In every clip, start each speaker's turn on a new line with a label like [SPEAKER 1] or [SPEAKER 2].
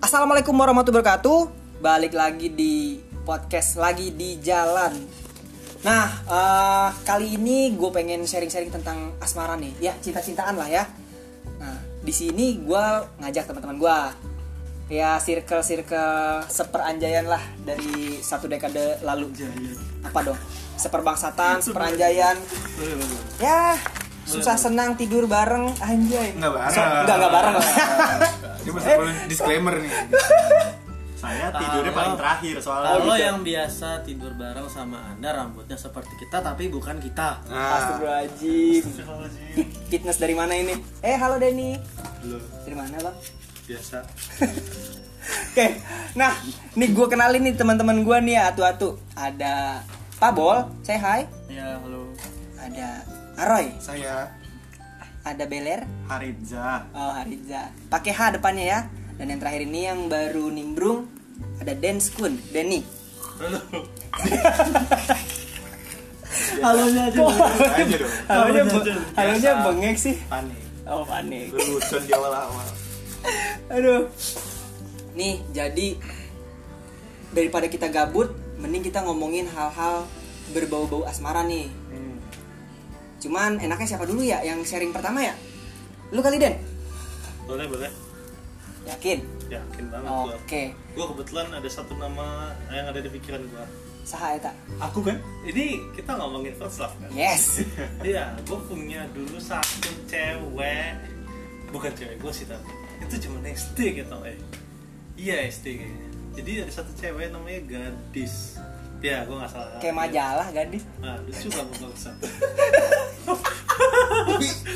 [SPEAKER 1] Assalamualaikum warahmatullahi wabarakatuh. Balik lagi di podcast lagi di jalan. Nah, eh, kali ini gue pengen sharing-sharing tentang asmara nih, ya cinta-cintaan lah ya. Nah, di sini gue ngajak teman-teman gue, ya circle-circle seperanjaian lah dari satu dekade lalu. Apa dong? Seperbangsatan, seperanjaian. Ya, susah senang tidur bareng anjay.
[SPEAKER 2] Nah.
[SPEAKER 3] Nggak bareng.
[SPEAKER 1] So- nggak- nggak bareng.
[SPEAKER 3] Ini mesti perlu disclaimer nih.
[SPEAKER 4] Saya
[SPEAKER 5] tidurnya paling
[SPEAKER 4] terakhir soalnya.
[SPEAKER 5] Kalau yang biasa tidur bareng sama Anda rambutnya seperti kita tapi bukan kita.
[SPEAKER 4] Ah,
[SPEAKER 3] Nah,
[SPEAKER 1] Astagfirullahaladzim Fitness dari mana ini? Eh halo Denny
[SPEAKER 3] lu
[SPEAKER 1] Dari mana bang?
[SPEAKER 3] biasa.
[SPEAKER 1] Oke Nah Nih gue kenalin nih teman-teman gue nih ya Atu-atu Ada Pak Bol Say hi
[SPEAKER 5] Ya, halo.
[SPEAKER 1] Ada Aroy
[SPEAKER 3] Saya
[SPEAKER 1] Ada Beler
[SPEAKER 4] Haridza.
[SPEAKER 1] Oh Hariza Pakai H depannya ya Dan yang terakhir ini yang baru nimbrung Ada Dance Kun Denny
[SPEAKER 5] Halonya aja.
[SPEAKER 3] aja dong.
[SPEAKER 1] Halonya
[SPEAKER 5] Halo,
[SPEAKER 1] be-
[SPEAKER 5] Jan.
[SPEAKER 1] halonya bengek sih
[SPEAKER 3] Panik.
[SPEAKER 1] Oh panik
[SPEAKER 3] Lelucon di awal-awal.
[SPEAKER 1] Aduh. Nih, jadi daripada kita gabut, mending kita ngomongin hal-hal berbau-bau asmara nih.
[SPEAKER 4] Hmm,
[SPEAKER 1] Cuman enaknya siapa dulu ya yang sharing pertama ya? Lu kali Den?
[SPEAKER 4] Boleh boleh.
[SPEAKER 1] Yakin?
[SPEAKER 4] Yakin banget
[SPEAKER 5] Oh.
[SPEAKER 4] gua.
[SPEAKER 1] Oke.
[SPEAKER 4] Gua kebetulan ada satu nama yang ada di pikiran gua.
[SPEAKER 1] Saha ya, eta?
[SPEAKER 4] Aku kan? Ini kita ngomongin first love kan?
[SPEAKER 1] Yes.
[SPEAKER 4] Iya, gua punya dulu satu cewek. Bukan cewek gua sih tapi itu cuma SD gitu eh. Iya SD kayaknya. Jadi ada satu cewek namanya Gadis. Ya, gua nggak salah.
[SPEAKER 1] Kayak majalah gadis.
[SPEAKER 4] Nah, lucu gak bagus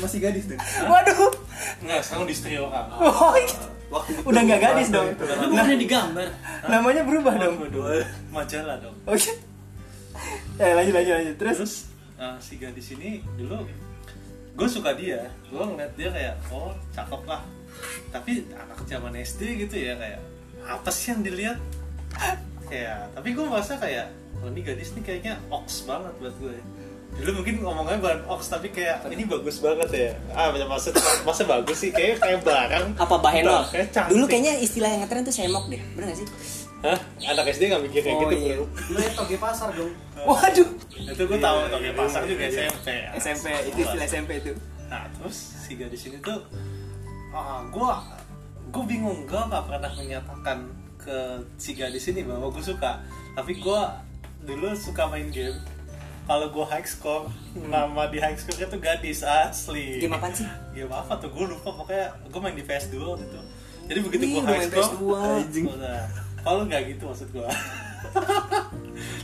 [SPEAKER 3] Masih gadis deh.
[SPEAKER 1] Waduh.
[SPEAKER 4] Nggak, sekarang di stereo kan?
[SPEAKER 1] Woy.
[SPEAKER 3] Waktu itu
[SPEAKER 1] Udah nggak gadis dong.
[SPEAKER 5] Lu bukannya digambar.
[SPEAKER 1] Namanya berubah Nah, dong.
[SPEAKER 4] Majalah dong.
[SPEAKER 1] Oke. Eh lanjut lanjut lanjut. Terus
[SPEAKER 4] terus uh, si gadis ini dulu gue suka dia gue ngeliat dia kayak oh cakep lah tapi anak zaman SD gitu ya kayak apa sih yang dilihat ya tapi gue merasa kayak oh, ini gadis nih kayaknya ox banget buat gue dulu mungkin ngomongnya bahan ox tapi kayak ini bagus banget ya ah macam masa masa bagus sih kayak kayak barang
[SPEAKER 1] apa bahenol?
[SPEAKER 4] Kayak cantik.
[SPEAKER 1] Dulu kayaknya istilah yang ngetren tuh semok deh. Bener gak sih?
[SPEAKER 4] Hah? anak SD nggak mikir kayak
[SPEAKER 1] Oh,
[SPEAKER 4] gitu
[SPEAKER 1] iya.
[SPEAKER 4] bro
[SPEAKER 5] Lu yang toge pasar dong.
[SPEAKER 1] Waduh.
[SPEAKER 4] itu gue tahu
[SPEAKER 1] Iya,
[SPEAKER 4] tau kayak pasar juga SMP ya.
[SPEAKER 1] SMP itu istilah SMP itu.
[SPEAKER 4] Nah terus si gadis ini tuh ah gue gue bingung gue nggak pernah menyatakan ke si gadis ini bahwa gue suka tapi gue dulu suka main game kalau gue high score nama di high score itu gadis asli
[SPEAKER 1] Game apaan sih?
[SPEAKER 4] game apa tuh gue lupa pokoknya gue main di PS2 waktu itu jadi begitu
[SPEAKER 1] Wih,
[SPEAKER 4] gue
[SPEAKER 1] lu
[SPEAKER 4] high
[SPEAKER 1] main
[SPEAKER 4] score
[SPEAKER 1] PS2.
[SPEAKER 4] anjing kalau nggak gitu maksud gue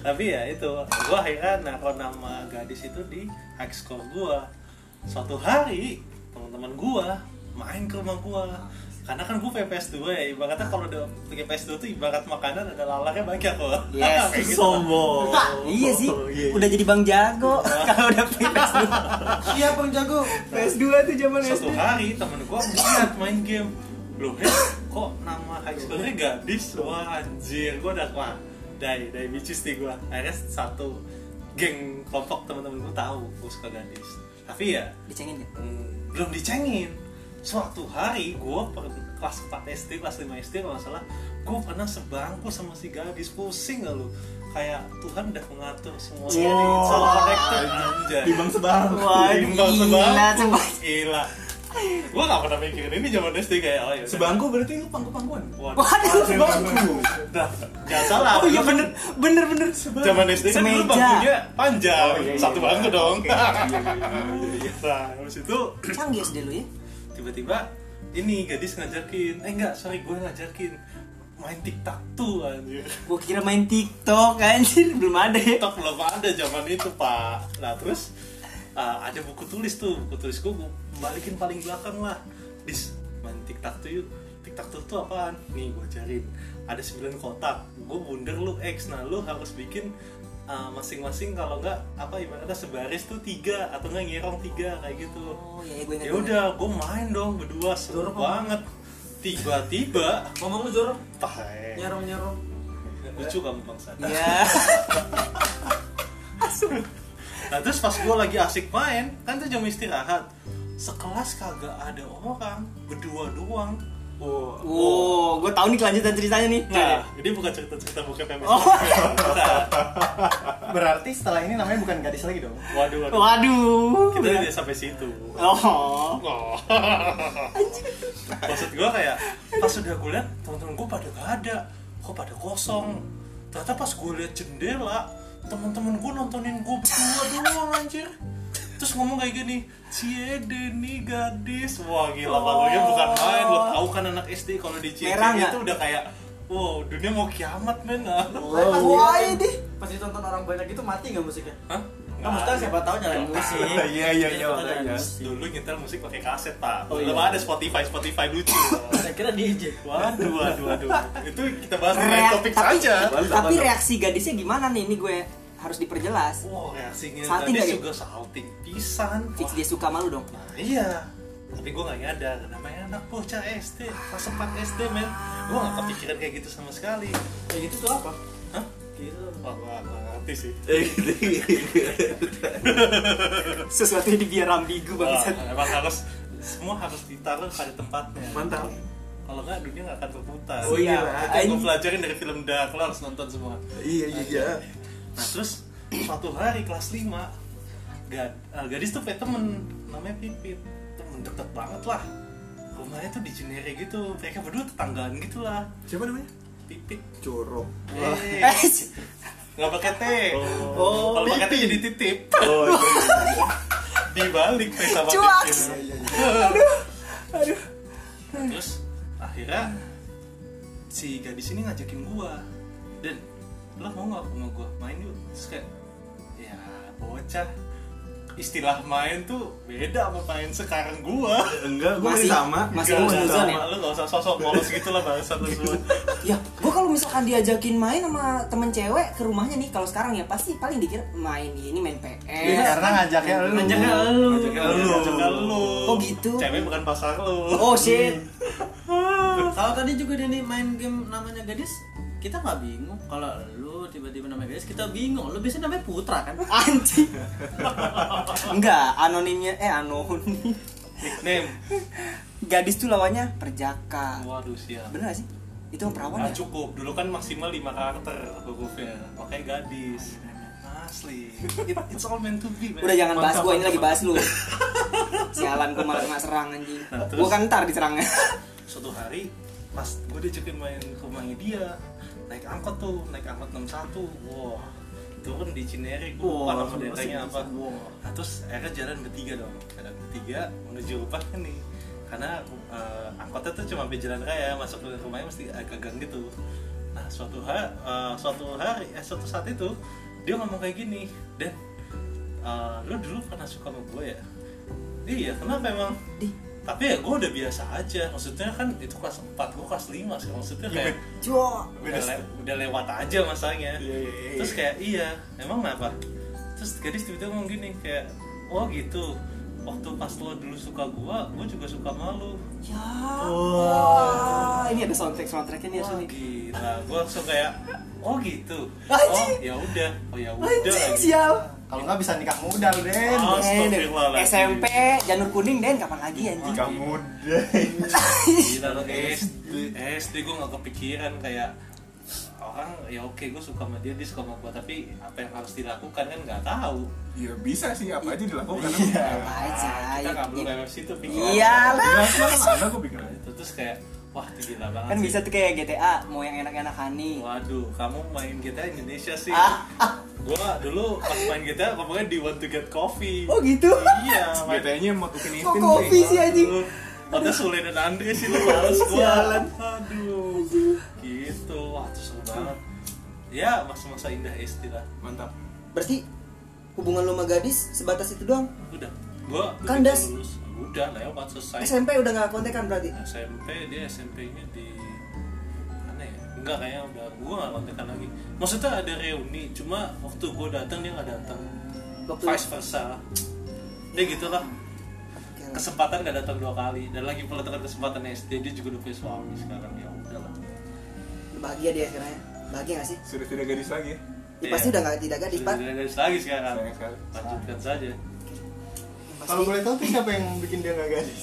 [SPEAKER 4] tapi ya itu gue akhirnya naruh nama gadis itu di high score gue suatu hari teman-teman gue main ke rumah gue karena kan gue punya PS2 ya ibaratnya kalau udah pakai PS2 tuh ibarat makanan ada lalarnya banyak loh
[SPEAKER 1] Yes,
[SPEAKER 4] Kayak gitu.
[SPEAKER 3] Sombong.
[SPEAKER 1] Iya sih,
[SPEAKER 4] Oh,
[SPEAKER 1] udah jadi Bang Jago kalau udah PS2.
[SPEAKER 5] Iya, Bang Jago.
[SPEAKER 1] PS2 tuh zaman
[SPEAKER 4] Suatu hari temen gue ngeliat main game Loh, eh, kok nama high schoolnya gadis? Wah anjir, gue udah wah Dai, dai bicis nih gue Akhirnya satu geng kelompok temen-temen gue tahu gue suka gadis Tapi ya,
[SPEAKER 1] Dicengin ya?
[SPEAKER 4] hmm, belum dicengin Suatu hari gue kelas 4 SD, kelas 5 SD kalau nggak salah Gue pernah sebangku sama si gadis, pusing gak lu? Kayak Tuhan udah mengatur semuanya
[SPEAKER 3] Wow.
[SPEAKER 4] It's all connected, anjay
[SPEAKER 3] Di bang sebang.
[SPEAKER 4] Timbang
[SPEAKER 1] Gila,
[SPEAKER 4] sebangku
[SPEAKER 1] coba.
[SPEAKER 4] Gila Gue gak pernah mikirin ini zaman SD kayak oh ya udah.
[SPEAKER 3] Sebangku berarti lu pangku-pangkuan.
[SPEAKER 4] Waduh
[SPEAKER 1] Waduh, Bang.
[SPEAKER 4] Dah, Jangan salah
[SPEAKER 1] Oh iya bener, bener bener.
[SPEAKER 4] Ah, Zaman SD kan dulu
[SPEAKER 1] Semeja.
[SPEAKER 4] bangkunya panjang
[SPEAKER 3] Oh, iya, iya.
[SPEAKER 4] Satu bangku dong
[SPEAKER 3] Oke, iya,
[SPEAKER 4] Nah habis itu
[SPEAKER 1] Canggih SD lu ya.
[SPEAKER 4] Tiba-tiba ini gadis ngajakin Eh enggak sorry gue ngajakin Main tiktok tuh anjir
[SPEAKER 1] Gua kira main TikTok anjir, belum ada ya.
[SPEAKER 4] TikTok belum ada zaman itu pak nah terus uh, ada buku tulis tuh buku tulis gue balikin paling belakang lah dis main TikTok tuh yuk TikTok tuh tuh apaan nih gue cariin ada 9 kotak gue bunder lu X nah lu harus bikin uh, masing-masing kalau nggak apa ibaratnya sebaris tuh tiga atau nggak nyerong tiga kayak gitu
[SPEAKER 1] Oh iya, iya, gua ingat.
[SPEAKER 4] ya udah gue main dong berdua seru banget tiba-tiba
[SPEAKER 5] Ngomong lu jorok.
[SPEAKER 4] tahe.
[SPEAKER 5] Nyerong-nyerong.
[SPEAKER 4] lucu kamu bangsa
[SPEAKER 1] Ya. Iya.
[SPEAKER 4] Nah terus pas gue lagi asik main, kan tuh jam istirahat Sekelas kagak ada orang, berdua doang
[SPEAKER 3] Oh,
[SPEAKER 1] Wow, gue tahu nih kelanjutan ceritanya nih.
[SPEAKER 4] Nah, ini bukan cerita-cerita bokep yang Nah.
[SPEAKER 1] Oh.
[SPEAKER 3] berarti setelah ini namanya bukan gadis lagi dong.
[SPEAKER 4] Waduh, waduh.
[SPEAKER 1] Waduh.
[SPEAKER 4] Kita tidak sampai situ.
[SPEAKER 1] Oh.
[SPEAKER 4] Oh. Maksud gue kayak pas udah gue liat temen-temen gue pada gak ada, kok pada kosong. Ternyata pas gue liat jendela, temen-temen gue nontonin gue berdua doang anjir. Terus ngomong kayak gini, Ciede nih gadis. Wah gila, malunya bukan main. Lo tau kan anak SD kalau di Ciede
[SPEAKER 1] Merah nggak?
[SPEAKER 4] itu udah kayak, wow dunia mau kiamat men. Nah.
[SPEAKER 1] Wah, iya ini.
[SPEAKER 5] Pas ditonton orang banyak itu mati nggak musiknya?
[SPEAKER 4] Hah?
[SPEAKER 5] Nah, maksudnya siapa tahu nyalain musik.
[SPEAKER 3] Iya, iya, iya,
[SPEAKER 5] Siapa tahu nyalain
[SPEAKER 3] makanya.
[SPEAKER 5] musik.
[SPEAKER 4] gitu. Dulu nyetel musik pakai kaset, Pak.
[SPEAKER 5] Oh,
[SPEAKER 4] Belum
[SPEAKER 5] iya.
[SPEAKER 4] ada Spotify, Spotify lucu.
[SPEAKER 5] Saya kira DJ.
[SPEAKER 4] Waduh, waduh, waduh. Itu kita bahas di lain
[SPEAKER 1] Reak-
[SPEAKER 4] topik
[SPEAKER 1] tapi,
[SPEAKER 4] saja.
[SPEAKER 1] tapi reaksi gadisnya gimana nih? Ini gue harus diperjelas.
[SPEAKER 4] Wah, reaksinya
[SPEAKER 1] Salting
[SPEAKER 4] tadi
[SPEAKER 1] nggak,
[SPEAKER 4] juga salting pisan.
[SPEAKER 1] Fix
[SPEAKER 4] Wah,
[SPEAKER 1] dia suka malu dong.
[SPEAKER 4] Nah, iya. Tapi gue gak nyadar, namanya anak bocah SD, kelas 4 SD, men. Gue gak kepikiran kayak gitu sama sekali.
[SPEAKER 5] Kayak gitu tuh apa?
[SPEAKER 4] Hah?
[SPEAKER 5] Gitu.
[SPEAKER 4] Wah, gue gak ngerti sih.
[SPEAKER 1] Sesuatu yang dibiar ambigu
[SPEAKER 4] Wah,
[SPEAKER 1] banget.
[SPEAKER 4] emang harus, semua harus ditaruh pada tempatnya.
[SPEAKER 3] Mantap.
[SPEAKER 4] Kalau nggak dunia nggak akan berputar.
[SPEAKER 3] Oh iya.
[SPEAKER 4] Itu yang gue pelajarin dari film Dark, lo harus nonton semua.
[SPEAKER 3] Iya, iya, iya.
[SPEAKER 4] Nah terus suatu hari kelas 5 gad, eh, gadis tuh punya temen namanya Pipit temen deket banget lah rumahnya tuh di Cinere gitu mereka berdua tetanggaan gitu lah
[SPEAKER 3] Siapa namanya?
[SPEAKER 4] Pipit
[SPEAKER 3] Jorok.
[SPEAKER 4] Eh,
[SPEAKER 1] Eh,
[SPEAKER 4] nggak pakai T
[SPEAKER 3] Oh.
[SPEAKER 4] kalau pakai T jadi titip
[SPEAKER 3] Oh,
[SPEAKER 4] dibalik T sama
[SPEAKER 1] Cuaks.
[SPEAKER 4] Pipit
[SPEAKER 3] iya, iya, iya.
[SPEAKER 4] terus akhirnya si gadis ini ngajakin gua dan lo mau nggak sama gua main yuk terus kayak ya bocah istilah main tuh beda sama main sekarang gua
[SPEAKER 3] Enggak, gue
[SPEAKER 1] Masih-
[SPEAKER 3] masih sama.
[SPEAKER 1] masih
[SPEAKER 4] Gak
[SPEAKER 1] mau
[SPEAKER 4] usah
[SPEAKER 1] nuzon
[SPEAKER 4] sama,
[SPEAKER 1] ya?
[SPEAKER 4] Lu gak usah sosok polos gitu lah bahasa lu semua
[SPEAKER 1] ya, gue kalau misalkan diajakin main sama temen cewek ke rumahnya nih, kalau sekarang ya pasti paling dikira main ini main
[SPEAKER 3] Iya,
[SPEAKER 1] PS.
[SPEAKER 3] karena ngajaknya lu.
[SPEAKER 5] Ngajaknya lu.
[SPEAKER 4] Ngajakin lu Ngajakin lu
[SPEAKER 1] Oh, gitu?
[SPEAKER 4] Cewek bukan pasar lu
[SPEAKER 1] Oh shit.
[SPEAKER 5] Kalau tadi juga Denny main game namanya gadis, kita nggak bingung. Kalau lu tiba-tiba namanya gadis, kita bingung. Lu biasanya namanya putra kan?
[SPEAKER 1] Anjing. Enggak, anonimnya eh anonim.
[SPEAKER 4] Nickname
[SPEAKER 1] Gadis tuh lawannya perjaka.
[SPEAKER 4] Waduh siap
[SPEAKER 1] Bener gak sih? Itu yang perawan
[SPEAKER 4] Nah,
[SPEAKER 1] ya? Iya.
[SPEAKER 4] cukup, dulu kan maksimal 5 karakter hurufnya Makanya gadis Asli, It- it's all meant to be man.
[SPEAKER 1] Udah jangan bahas
[SPEAKER 4] Mantap,
[SPEAKER 1] gue, ini lagi
[SPEAKER 4] mantap.
[SPEAKER 1] bahas lu Sialan gue malah kena serang anjing
[SPEAKER 4] Nah, terus?
[SPEAKER 1] Gue kan ntar diserangnya
[SPEAKER 4] Suatu hari, pas gue diajakin main ke rumahnya dia Naik angkot tuh, naik angkot 61 Wah, turun di Cinere, gue lupa nama daerahnya apa Nah, terus akhirnya jalan bertiga dong jalan bertiga menuju rumahnya nih karena eh, angkotnya tuh cuma sampai jalan raya masuk ke rumahnya mesti agak gang gitu nah suatu hari suatu hari eh, suatu saat itu dia ngomong kayak gini dan eh, lu dulu pernah suka sama gue ya iya kenapa emang
[SPEAKER 1] Ih.
[SPEAKER 4] tapi ya gue udah biasa aja maksudnya kan itu kelas 4 gue kelas 5 sih maksudnya
[SPEAKER 3] Iya,
[SPEAKER 4] kayak
[SPEAKER 1] Cua
[SPEAKER 4] udah, le- udah lewat aja masanya
[SPEAKER 3] Iya, iya, iya.
[SPEAKER 4] terus kayak iya emang kenapa terus gadis tiba-tiba ngomong gini kayak oh gitu waktu pas lo dulu suka gua gua juga suka malu
[SPEAKER 1] Ya Wah, Ah, Ini ada soundtrack soundtracknya nih
[SPEAKER 4] wah
[SPEAKER 1] asli
[SPEAKER 4] gila gua langsung kayak oh gitu oh
[SPEAKER 1] Anjing.
[SPEAKER 4] ya udah oh ya udah
[SPEAKER 1] Anjing sial
[SPEAKER 3] Kalau nggak bisa nikah muda lu, Den.
[SPEAKER 4] Ah. Astagfirullahaladzim.
[SPEAKER 1] SMP janur kuning Den kapan lagi anjing
[SPEAKER 3] Nikah muda.
[SPEAKER 4] gila lo SD SD gua nggak kepikiran kayak orang ya oke gua suka sama dia dia suka sama gua tapi apa yang harus dilakukan kan nggak tahu
[SPEAKER 2] Iya bisa sih apa aja dilakukan.
[SPEAKER 3] Iya.
[SPEAKER 1] Apa aja
[SPEAKER 4] kita
[SPEAKER 1] ya,
[SPEAKER 4] nggak perlu
[SPEAKER 1] ya.
[SPEAKER 4] kayak situ pikiran
[SPEAKER 1] Iyalah
[SPEAKER 2] Jelas lah mana gue pikir aja.
[SPEAKER 4] Itu terus kayak wah itu gila banget
[SPEAKER 1] Kan
[SPEAKER 4] sih.
[SPEAKER 1] bisa tuh kayak GTA Mau yang enak-enak honey
[SPEAKER 4] Waduh, kamu main GTA Indonesia sih.
[SPEAKER 1] Ah, ah.
[SPEAKER 4] Gua dulu pas main GTA ngomongnya di want to get coffee.
[SPEAKER 1] Oh gitu
[SPEAKER 4] Iya, main
[SPEAKER 2] Katanya mau tukin
[SPEAKER 1] Kok kopi sih anjing
[SPEAKER 4] Aduh, Ada Sule dan Andre sih lu males gua. Aduh. Gitu. Wah, itu seru banget. Ya, masa-masa indah SD lah.
[SPEAKER 2] Mantap.
[SPEAKER 1] Berarti hubungan lu sama gadis sebatas itu doang
[SPEAKER 4] Udah. Gua begitu
[SPEAKER 1] Kandas.
[SPEAKER 4] lulus, Udah lewat selesai. Nah,
[SPEAKER 1] SMP udah gak kontekan berarti
[SPEAKER 4] SMP dia SMP-nya di mana ya? Enggak kayaknya udah gua gak kontekan lagi. Maksudnya ada reuni, cuma waktu gua datang dia nggak datang.
[SPEAKER 1] Waktu- Hmm.
[SPEAKER 4] Vice versa. Dia gitulah.
[SPEAKER 1] Oke.
[SPEAKER 4] Kesempatan gak datang dua kali dan lagi pula dengan kesempatan SD dia juga udah punya suami sekarang ya udahlah.
[SPEAKER 1] bahagia dia akhirnya ya? bahagia gak sih
[SPEAKER 2] Sudah tidak gadis lagi.
[SPEAKER 1] ya,
[SPEAKER 4] Iya.
[SPEAKER 1] pasti udah gak tidak gadis pak
[SPEAKER 4] Sudah tidak gadis lagi sekarang.
[SPEAKER 2] Sayang sekali.
[SPEAKER 4] Lanjutkan saja.
[SPEAKER 1] Pasti.
[SPEAKER 3] Kalau boleh tahu tuh siapa yang bikin dia nggak gadis?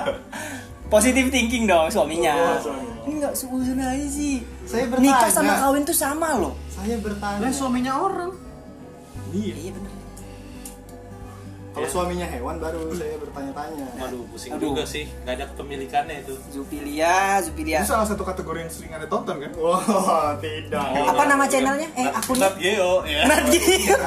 [SPEAKER 1] Positive thinking dong
[SPEAKER 2] Oh,
[SPEAKER 1] suaminya.
[SPEAKER 2] suaminya.
[SPEAKER 1] Ini nggak seuzon aja sih.
[SPEAKER 3] Saya bertanya.
[SPEAKER 1] Nikah sama kawin tuh sama loh.
[SPEAKER 3] Saya bertanya.
[SPEAKER 5] Lah suaminya orang.
[SPEAKER 2] Iya.
[SPEAKER 1] Iya bener.
[SPEAKER 4] Iya.
[SPEAKER 3] Kalau suaminya hewan baru saya bertanya-tanya.
[SPEAKER 4] Waduh, pusing
[SPEAKER 1] Aduh.
[SPEAKER 4] juga sih. Gak ada kepemilikannya itu.
[SPEAKER 1] Zupilia, Zupilia.
[SPEAKER 2] Itu salah satu kategori yang sering ada tonton kan?
[SPEAKER 3] Wah, tidak.
[SPEAKER 1] Apa nama channelnya? Eh, akunnya?
[SPEAKER 4] Oh, Nat Geo, ya.
[SPEAKER 1] Nat Geo.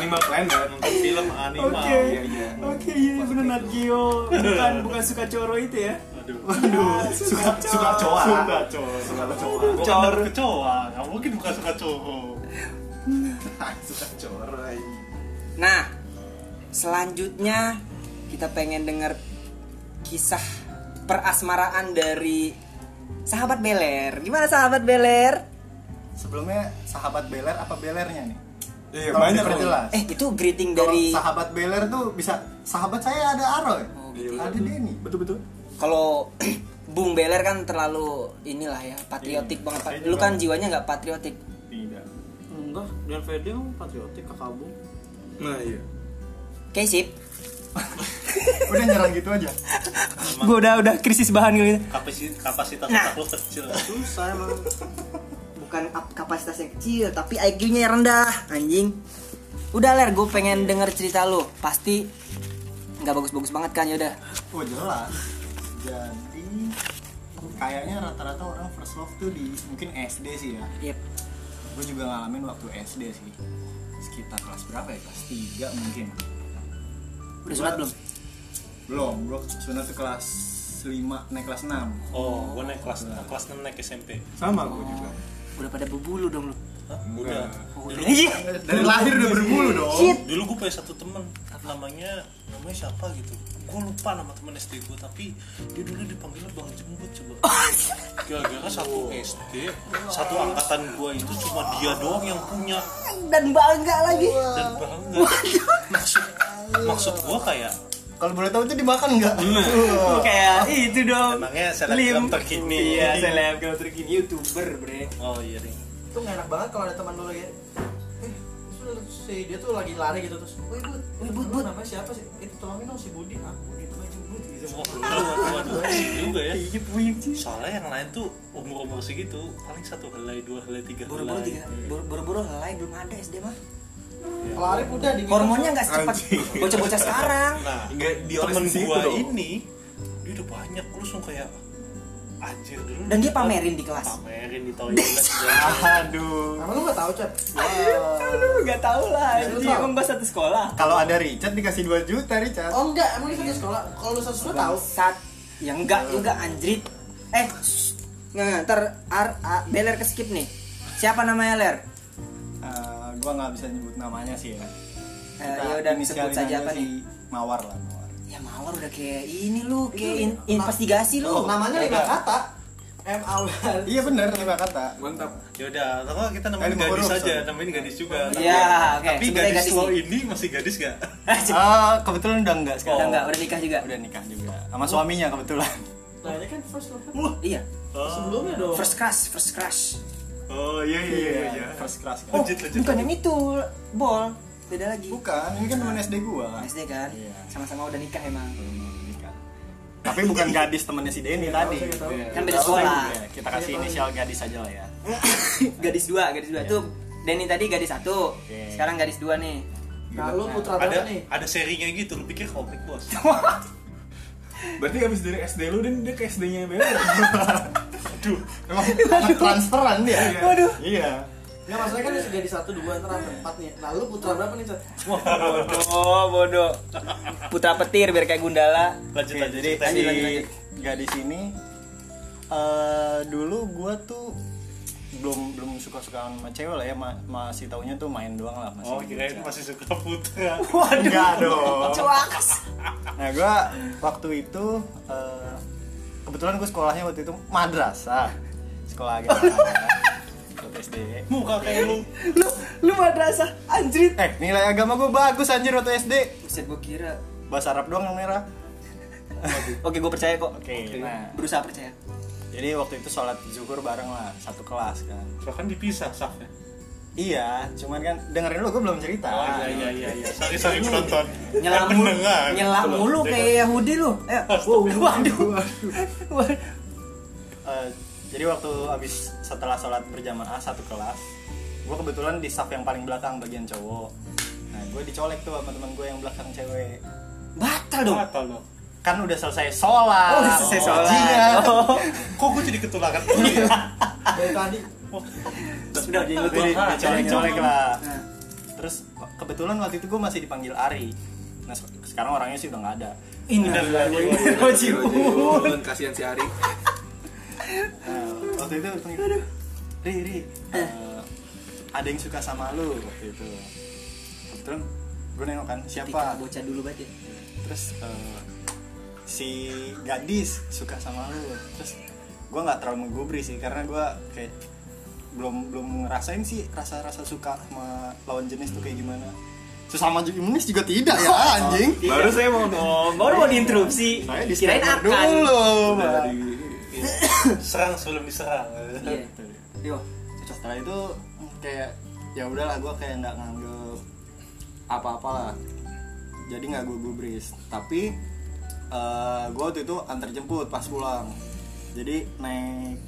[SPEAKER 2] Animal Planet. kan?
[SPEAKER 4] Nonton film animal.
[SPEAKER 1] Oke.
[SPEAKER 2] Iya, iya.
[SPEAKER 1] Oke, iya bener Nat Geo. Bukan bukan suka coro itu ya.
[SPEAKER 4] Aduh.
[SPEAKER 3] Waduh, suka suka coa. Suka coa.
[SPEAKER 2] Suka kecoa.
[SPEAKER 4] Gua kan
[SPEAKER 1] Cor.
[SPEAKER 4] anak kecoa. Gak mungkin bukan suka cowok.
[SPEAKER 2] Suka corai.
[SPEAKER 1] Nah, selanjutnya kita pengen dengar kisah perasmaraan dari sahabat Beler. Gimana sahabat Beler?
[SPEAKER 3] Sebelumnya sahabat beler apa belernya nih?
[SPEAKER 2] Iya,
[SPEAKER 3] Tolong
[SPEAKER 2] banyak
[SPEAKER 3] diperjelas.
[SPEAKER 1] Eh, itu greeting
[SPEAKER 3] Kalau
[SPEAKER 1] dari
[SPEAKER 3] sahabat beler tuh bisa sahabat saya ada Aroy.
[SPEAKER 1] Oh,
[SPEAKER 2] gitu.
[SPEAKER 3] ada Denny.
[SPEAKER 2] Betul-betul.
[SPEAKER 1] kalau Bung Beler kan terlalu inilah ya, patriotik
[SPEAKER 2] Iya,
[SPEAKER 1] banget. Pak.
[SPEAKER 2] saya
[SPEAKER 1] Lu
[SPEAKER 2] juga.
[SPEAKER 1] kan jiwanya nggak patriotik.
[SPEAKER 2] Tidak.
[SPEAKER 5] Enggak, Dian Fede emang patriotik kakak bu.
[SPEAKER 2] Nah, iya.
[SPEAKER 1] Kesip.
[SPEAKER 3] Udah nyerang gitu aja.
[SPEAKER 1] Gue udah udah krisis bahan gitu.
[SPEAKER 4] Kapasitas, kapasitas
[SPEAKER 1] Nah.
[SPEAKER 4] otak lu kecil.
[SPEAKER 5] Susah emang.
[SPEAKER 1] Bukan ap- kapasitasnya kecil, tapi IQ-nya yang rendah, anjing. Udah Ler, gue pengen denger cerita lu. Pasti nggak bagus-bagus banget kan yaudah
[SPEAKER 3] Oh jelas. Jadi kayaknya rata-rata orang first love tuh di mungkin SD sih ya.
[SPEAKER 1] Yep.
[SPEAKER 3] Gue juga ngalamin waktu SD sih. Sekitar kelas berapa ya? Kelas 3 mungkin.
[SPEAKER 1] Udah sunat belum?
[SPEAKER 3] Belum, bro. Sebenarnya tuh kelas 5 naik kelas 6.
[SPEAKER 4] Oh, gua naik kelas kelas 6 naik SMP.
[SPEAKER 2] Sama gue juga.
[SPEAKER 1] Udah pada berbulu dong lu.
[SPEAKER 4] Hah? Udah. Dulu,
[SPEAKER 1] Iya.
[SPEAKER 3] Dari lahir udah berbulu dong.
[SPEAKER 1] Shit.
[SPEAKER 4] dulu gue punya satu temen namanya namanya siapa gitu gue lupa nama temen SD gue tapi dia dulu dipanggilnya bang jembut coba gara-gara satu SD satu angkatan gue itu cuma dia doang yang punya
[SPEAKER 1] Dan bangga lagi.
[SPEAKER 4] dan bangga maksud maksud gue kayak
[SPEAKER 3] Kalau boleh tahu itu dimakan nggak? Wah.
[SPEAKER 5] ya,
[SPEAKER 1] Kayak itu dong.
[SPEAKER 4] emangnya selebgram
[SPEAKER 1] Lim.
[SPEAKER 4] terkini
[SPEAKER 1] Iya, selebgram terkini youtuber, bre.
[SPEAKER 4] oh iya nih
[SPEAKER 5] Itu nggak enak banget kalau ada teman lu lagi. Eh, terus si dia tuh lagi lari gitu terus. Wih bud, wih bud, bud. Namanya siapa sih? Itu tolongin dong si Budi. Ah, Budi namanya Budi. Gitu.
[SPEAKER 4] waduh waduh waduh pusing juga ya soalnya yang lain tuh umur umur segitu paling satu helai dua helai tiga
[SPEAKER 1] Buru-buru tiga,
[SPEAKER 4] helai
[SPEAKER 1] buru- buru-buru helai belum ada SD mah.
[SPEAKER 5] Kalau Arif udah di
[SPEAKER 1] Iya, Hormonnya nggak secepat
[SPEAKER 2] Anjing.
[SPEAKER 1] bocah-bocah sekarang.
[SPEAKER 4] nah
[SPEAKER 2] Nggak dioles
[SPEAKER 4] temen gitu
[SPEAKER 2] di situ
[SPEAKER 4] gua
[SPEAKER 2] dong.
[SPEAKER 4] ini dia udah banyak gue langsung kayak anjir dulu
[SPEAKER 1] Dan dia pamerin di kelas.
[SPEAKER 4] pamerin di toilet
[SPEAKER 3] Aduh.
[SPEAKER 5] Emang lu nggak tahu cep?
[SPEAKER 1] Nah. Aduh, nggak tahu lah.
[SPEAKER 5] Nggak
[SPEAKER 1] Dia
[SPEAKER 5] tahu.
[SPEAKER 1] emang bahas satu sekolah.
[SPEAKER 3] Kalau ada Richard dikasih 2 juta Richard.
[SPEAKER 5] Oh enggak, emang dia satu sekolah. Kalau lu satu sekolah tahu.
[SPEAKER 1] Bangsat. Ya enggak juga anjrit. Eh, shh. nggak nggak, ntar Ar, A- Beler ke skip nih. Siapa namanya Ler?
[SPEAKER 3] Eh, gua nggak bisa nyebut namanya sih ya.
[SPEAKER 1] Eh, ya udah sebut
[SPEAKER 3] inisialin
[SPEAKER 1] saja
[SPEAKER 3] aja
[SPEAKER 1] apa
[SPEAKER 3] si
[SPEAKER 1] nih?
[SPEAKER 3] Mawar lah, Mawar.
[SPEAKER 1] Ya mawar udah kayak ini lu, kayak in- investigasi lu.
[SPEAKER 5] Oh, Namanya lima
[SPEAKER 3] Iya.
[SPEAKER 5] kata. M A W L.
[SPEAKER 3] Iya bener lima kata.
[SPEAKER 2] Mantap.
[SPEAKER 4] ya udah atau kita namain
[SPEAKER 3] Eh, lima
[SPEAKER 4] gadis
[SPEAKER 3] huruf,
[SPEAKER 4] aja
[SPEAKER 3] sorry.
[SPEAKER 4] namain gadis juga
[SPEAKER 1] Iya, oke.
[SPEAKER 4] tapi
[SPEAKER 1] Sebutnya
[SPEAKER 4] gadis,
[SPEAKER 1] gadis
[SPEAKER 4] lo
[SPEAKER 1] nih.
[SPEAKER 4] ini masih gadis gak
[SPEAKER 3] Ah, kebetulan udah enggak
[SPEAKER 1] Udah
[SPEAKER 3] sekarang.
[SPEAKER 1] enggak, udah nikah juga.
[SPEAKER 3] Udah nikah juga. Sama suaminya kebetulan.
[SPEAKER 5] Nah ini kan first love.
[SPEAKER 1] Iya.
[SPEAKER 4] oh,
[SPEAKER 5] Sebelumnya dong.
[SPEAKER 1] First crush, first crush.
[SPEAKER 4] oh iya iya iya, iya.
[SPEAKER 3] First class.
[SPEAKER 1] Oh,
[SPEAKER 4] Lanjut, lanjut,
[SPEAKER 1] bukan
[SPEAKER 4] lanjut.
[SPEAKER 1] yang itu, bol. Beda lagi.
[SPEAKER 3] Bukan, ini kan teman SD gua.
[SPEAKER 1] SD kan?
[SPEAKER 3] Iya.
[SPEAKER 1] Sama-sama udah nikah emang.
[SPEAKER 3] Nikah. Tapi bukan gadis temannya si Denny tadi.
[SPEAKER 1] Kan beda sekolah.
[SPEAKER 3] Iya, Kita kasih inisial gadis aja lah ya.
[SPEAKER 1] gadis dua, gadis dua. Tuh, Denny tadi gadis satu.
[SPEAKER 3] Oke.
[SPEAKER 1] Sekarang gadis dua nih.
[SPEAKER 5] Nah lu putra
[SPEAKER 4] ada
[SPEAKER 5] berapa nih?
[SPEAKER 4] ada serinya gitu lu pikir komik bos
[SPEAKER 2] Berarti abis dari SD lu dan dia ke SD-nya Bella.
[SPEAKER 4] aduh
[SPEAKER 3] Emang anak transferan dia.
[SPEAKER 1] Waduh.
[SPEAKER 3] Iya.
[SPEAKER 5] Nggak maksudnya kan sudah di satu dua ntar ada empat nih. Nah lu putra berapa nih Cet?
[SPEAKER 1] Bodoh, bodoh. Putra petir biar kayak Gundala.
[SPEAKER 4] lanjut
[SPEAKER 3] Oke,
[SPEAKER 4] lanjut
[SPEAKER 3] jadi
[SPEAKER 4] cerita.
[SPEAKER 3] si
[SPEAKER 1] lanjut, lanjut.
[SPEAKER 3] gadis ini eh dulu gua tuh belum belum suka-sukaan sama cewek lah ya ma- masih taunya tuh main doang lah masih
[SPEAKER 4] oh kirain masih suka putra
[SPEAKER 1] Waduh.
[SPEAKER 3] Enggak dong.
[SPEAKER 1] Cuaks.
[SPEAKER 3] Nah, gua waktu itu eh, kebetulan gue sekolahnya waktu itu madrasah. Sekolah agama. Waktu SD.
[SPEAKER 4] muka kayak lu
[SPEAKER 1] Lu lu madrasah anjrit.
[SPEAKER 3] Eh, nilai agama gue bagus anjir waktu SD.
[SPEAKER 1] Buset gua kira.
[SPEAKER 3] Bahasa Arab doang yang merah.
[SPEAKER 1] Oke, gua percaya kok.
[SPEAKER 3] Oke, nah.
[SPEAKER 1] Berusaha percaya.
[SPEAKER 3] Jadi waktu itu sholat zuhur bareng lah, satu kelas kan.
[SPEAKER 4] bahkan dipisah ya? safnya
[SPEAKER 3] Iya, cuman kan dengerin lu gue belum cerita.
[SPEAKER 4] Oh iya iya iya iya.
[SPEAKER 2] Sorry, sorry penonton.
[SPEAKER 1] nyelam
[SPEAKER 2] Eh,
[SPEAKER 1] mulu
[SPEAKER 2] pendengar.
[SPEAKER 1] nyelam
[SPEAKER 2] Betul,
[SPEAKER 1] mulu
[SPEAKER 4] Iya
[SPEAKER 2] pendengar.
[SPEAKER 1] kayak Yahudi lu eh wow, waduh
[SPEAKER 3] Eh, jadi waktu abis setelah sholat berjamaah satu kelas, gue kebetulan di saf yang paling belakang bagian cowok. Nah gue dicolek tuh sama teman gue yang belakang cewek.
[SPEAKER 1] batal dong
[SPEAKER 4] Batal dong.
[SPEAKER 3] Kan udah selesai sholat. Iya.
[SPEAKER 1] Oh, udah selesai sholat. Oh,
[SPEAKER 3] bajingan.
[SPEAKER 4] Kok gue jadi ketularan?
[SPEAKER 1] Iya.
[SPEAKER 5] dari tadi
[SPEAKER 3] Terus udah jadi
[SPEAKER 4] Gua kan.
[SPEAKER 3] dicolek-colek lah.
[SPEAKER 1] Nah.
[SPEAKER 3] Terus kebetulan waktu itu gue masih dipanggil Ari. Nah se- sekarang orangnya sih udah nggak ada.
[SPEAKER 1] Innalillahi wa inna ilaihi raji'un.
[SPEAKER 2] Jiun, iya, kasihan si Ari.
[SPEAKER 3] Nah, waktu itu dipanggil, Ri, Ri, eh, ada yang suka sama lu waktu itu. Kebetulan gue nengok kan
[SPEAKER 1] Ketika
[SPEAKER 3] siapa
[SPEAKER 1] bocah dulu banget ya
[SPEAKER 3] terus eh, si gadis suka sama lu terus gue nggak terlalu menggubri sih karena gue kayak belum belum ngerasain sih rasa rasa suka sama lawan jenis tuh kayak gimana sesama jenis juga tidak ya anjing
[SPEAKER 2] Baru saya mau ngomong.
[SPEAKER 1] baru mau diinterupsi
[SPEAKER 3] saya
[SPEAKER 1] kirain
[SPEAKER 3] disclaimer
[SPEAKER 1] akan
[SPEAKER 3] dulu
[SPEAKER 2] Udah
[SPEAKER 3] Bang.
[SPEAKER 2] di ini.
[SPEAKER 4] Serang sebelum diserang.
[SPEAKER 1] Iya. Yo,
[SPEAKER 3] setelah itu kayak ya udahlah gue kayak nggak nganggep apa-apa lah jadi nggak gue gubris tapi gue waktu itu antar jemput pas pulang jadi naik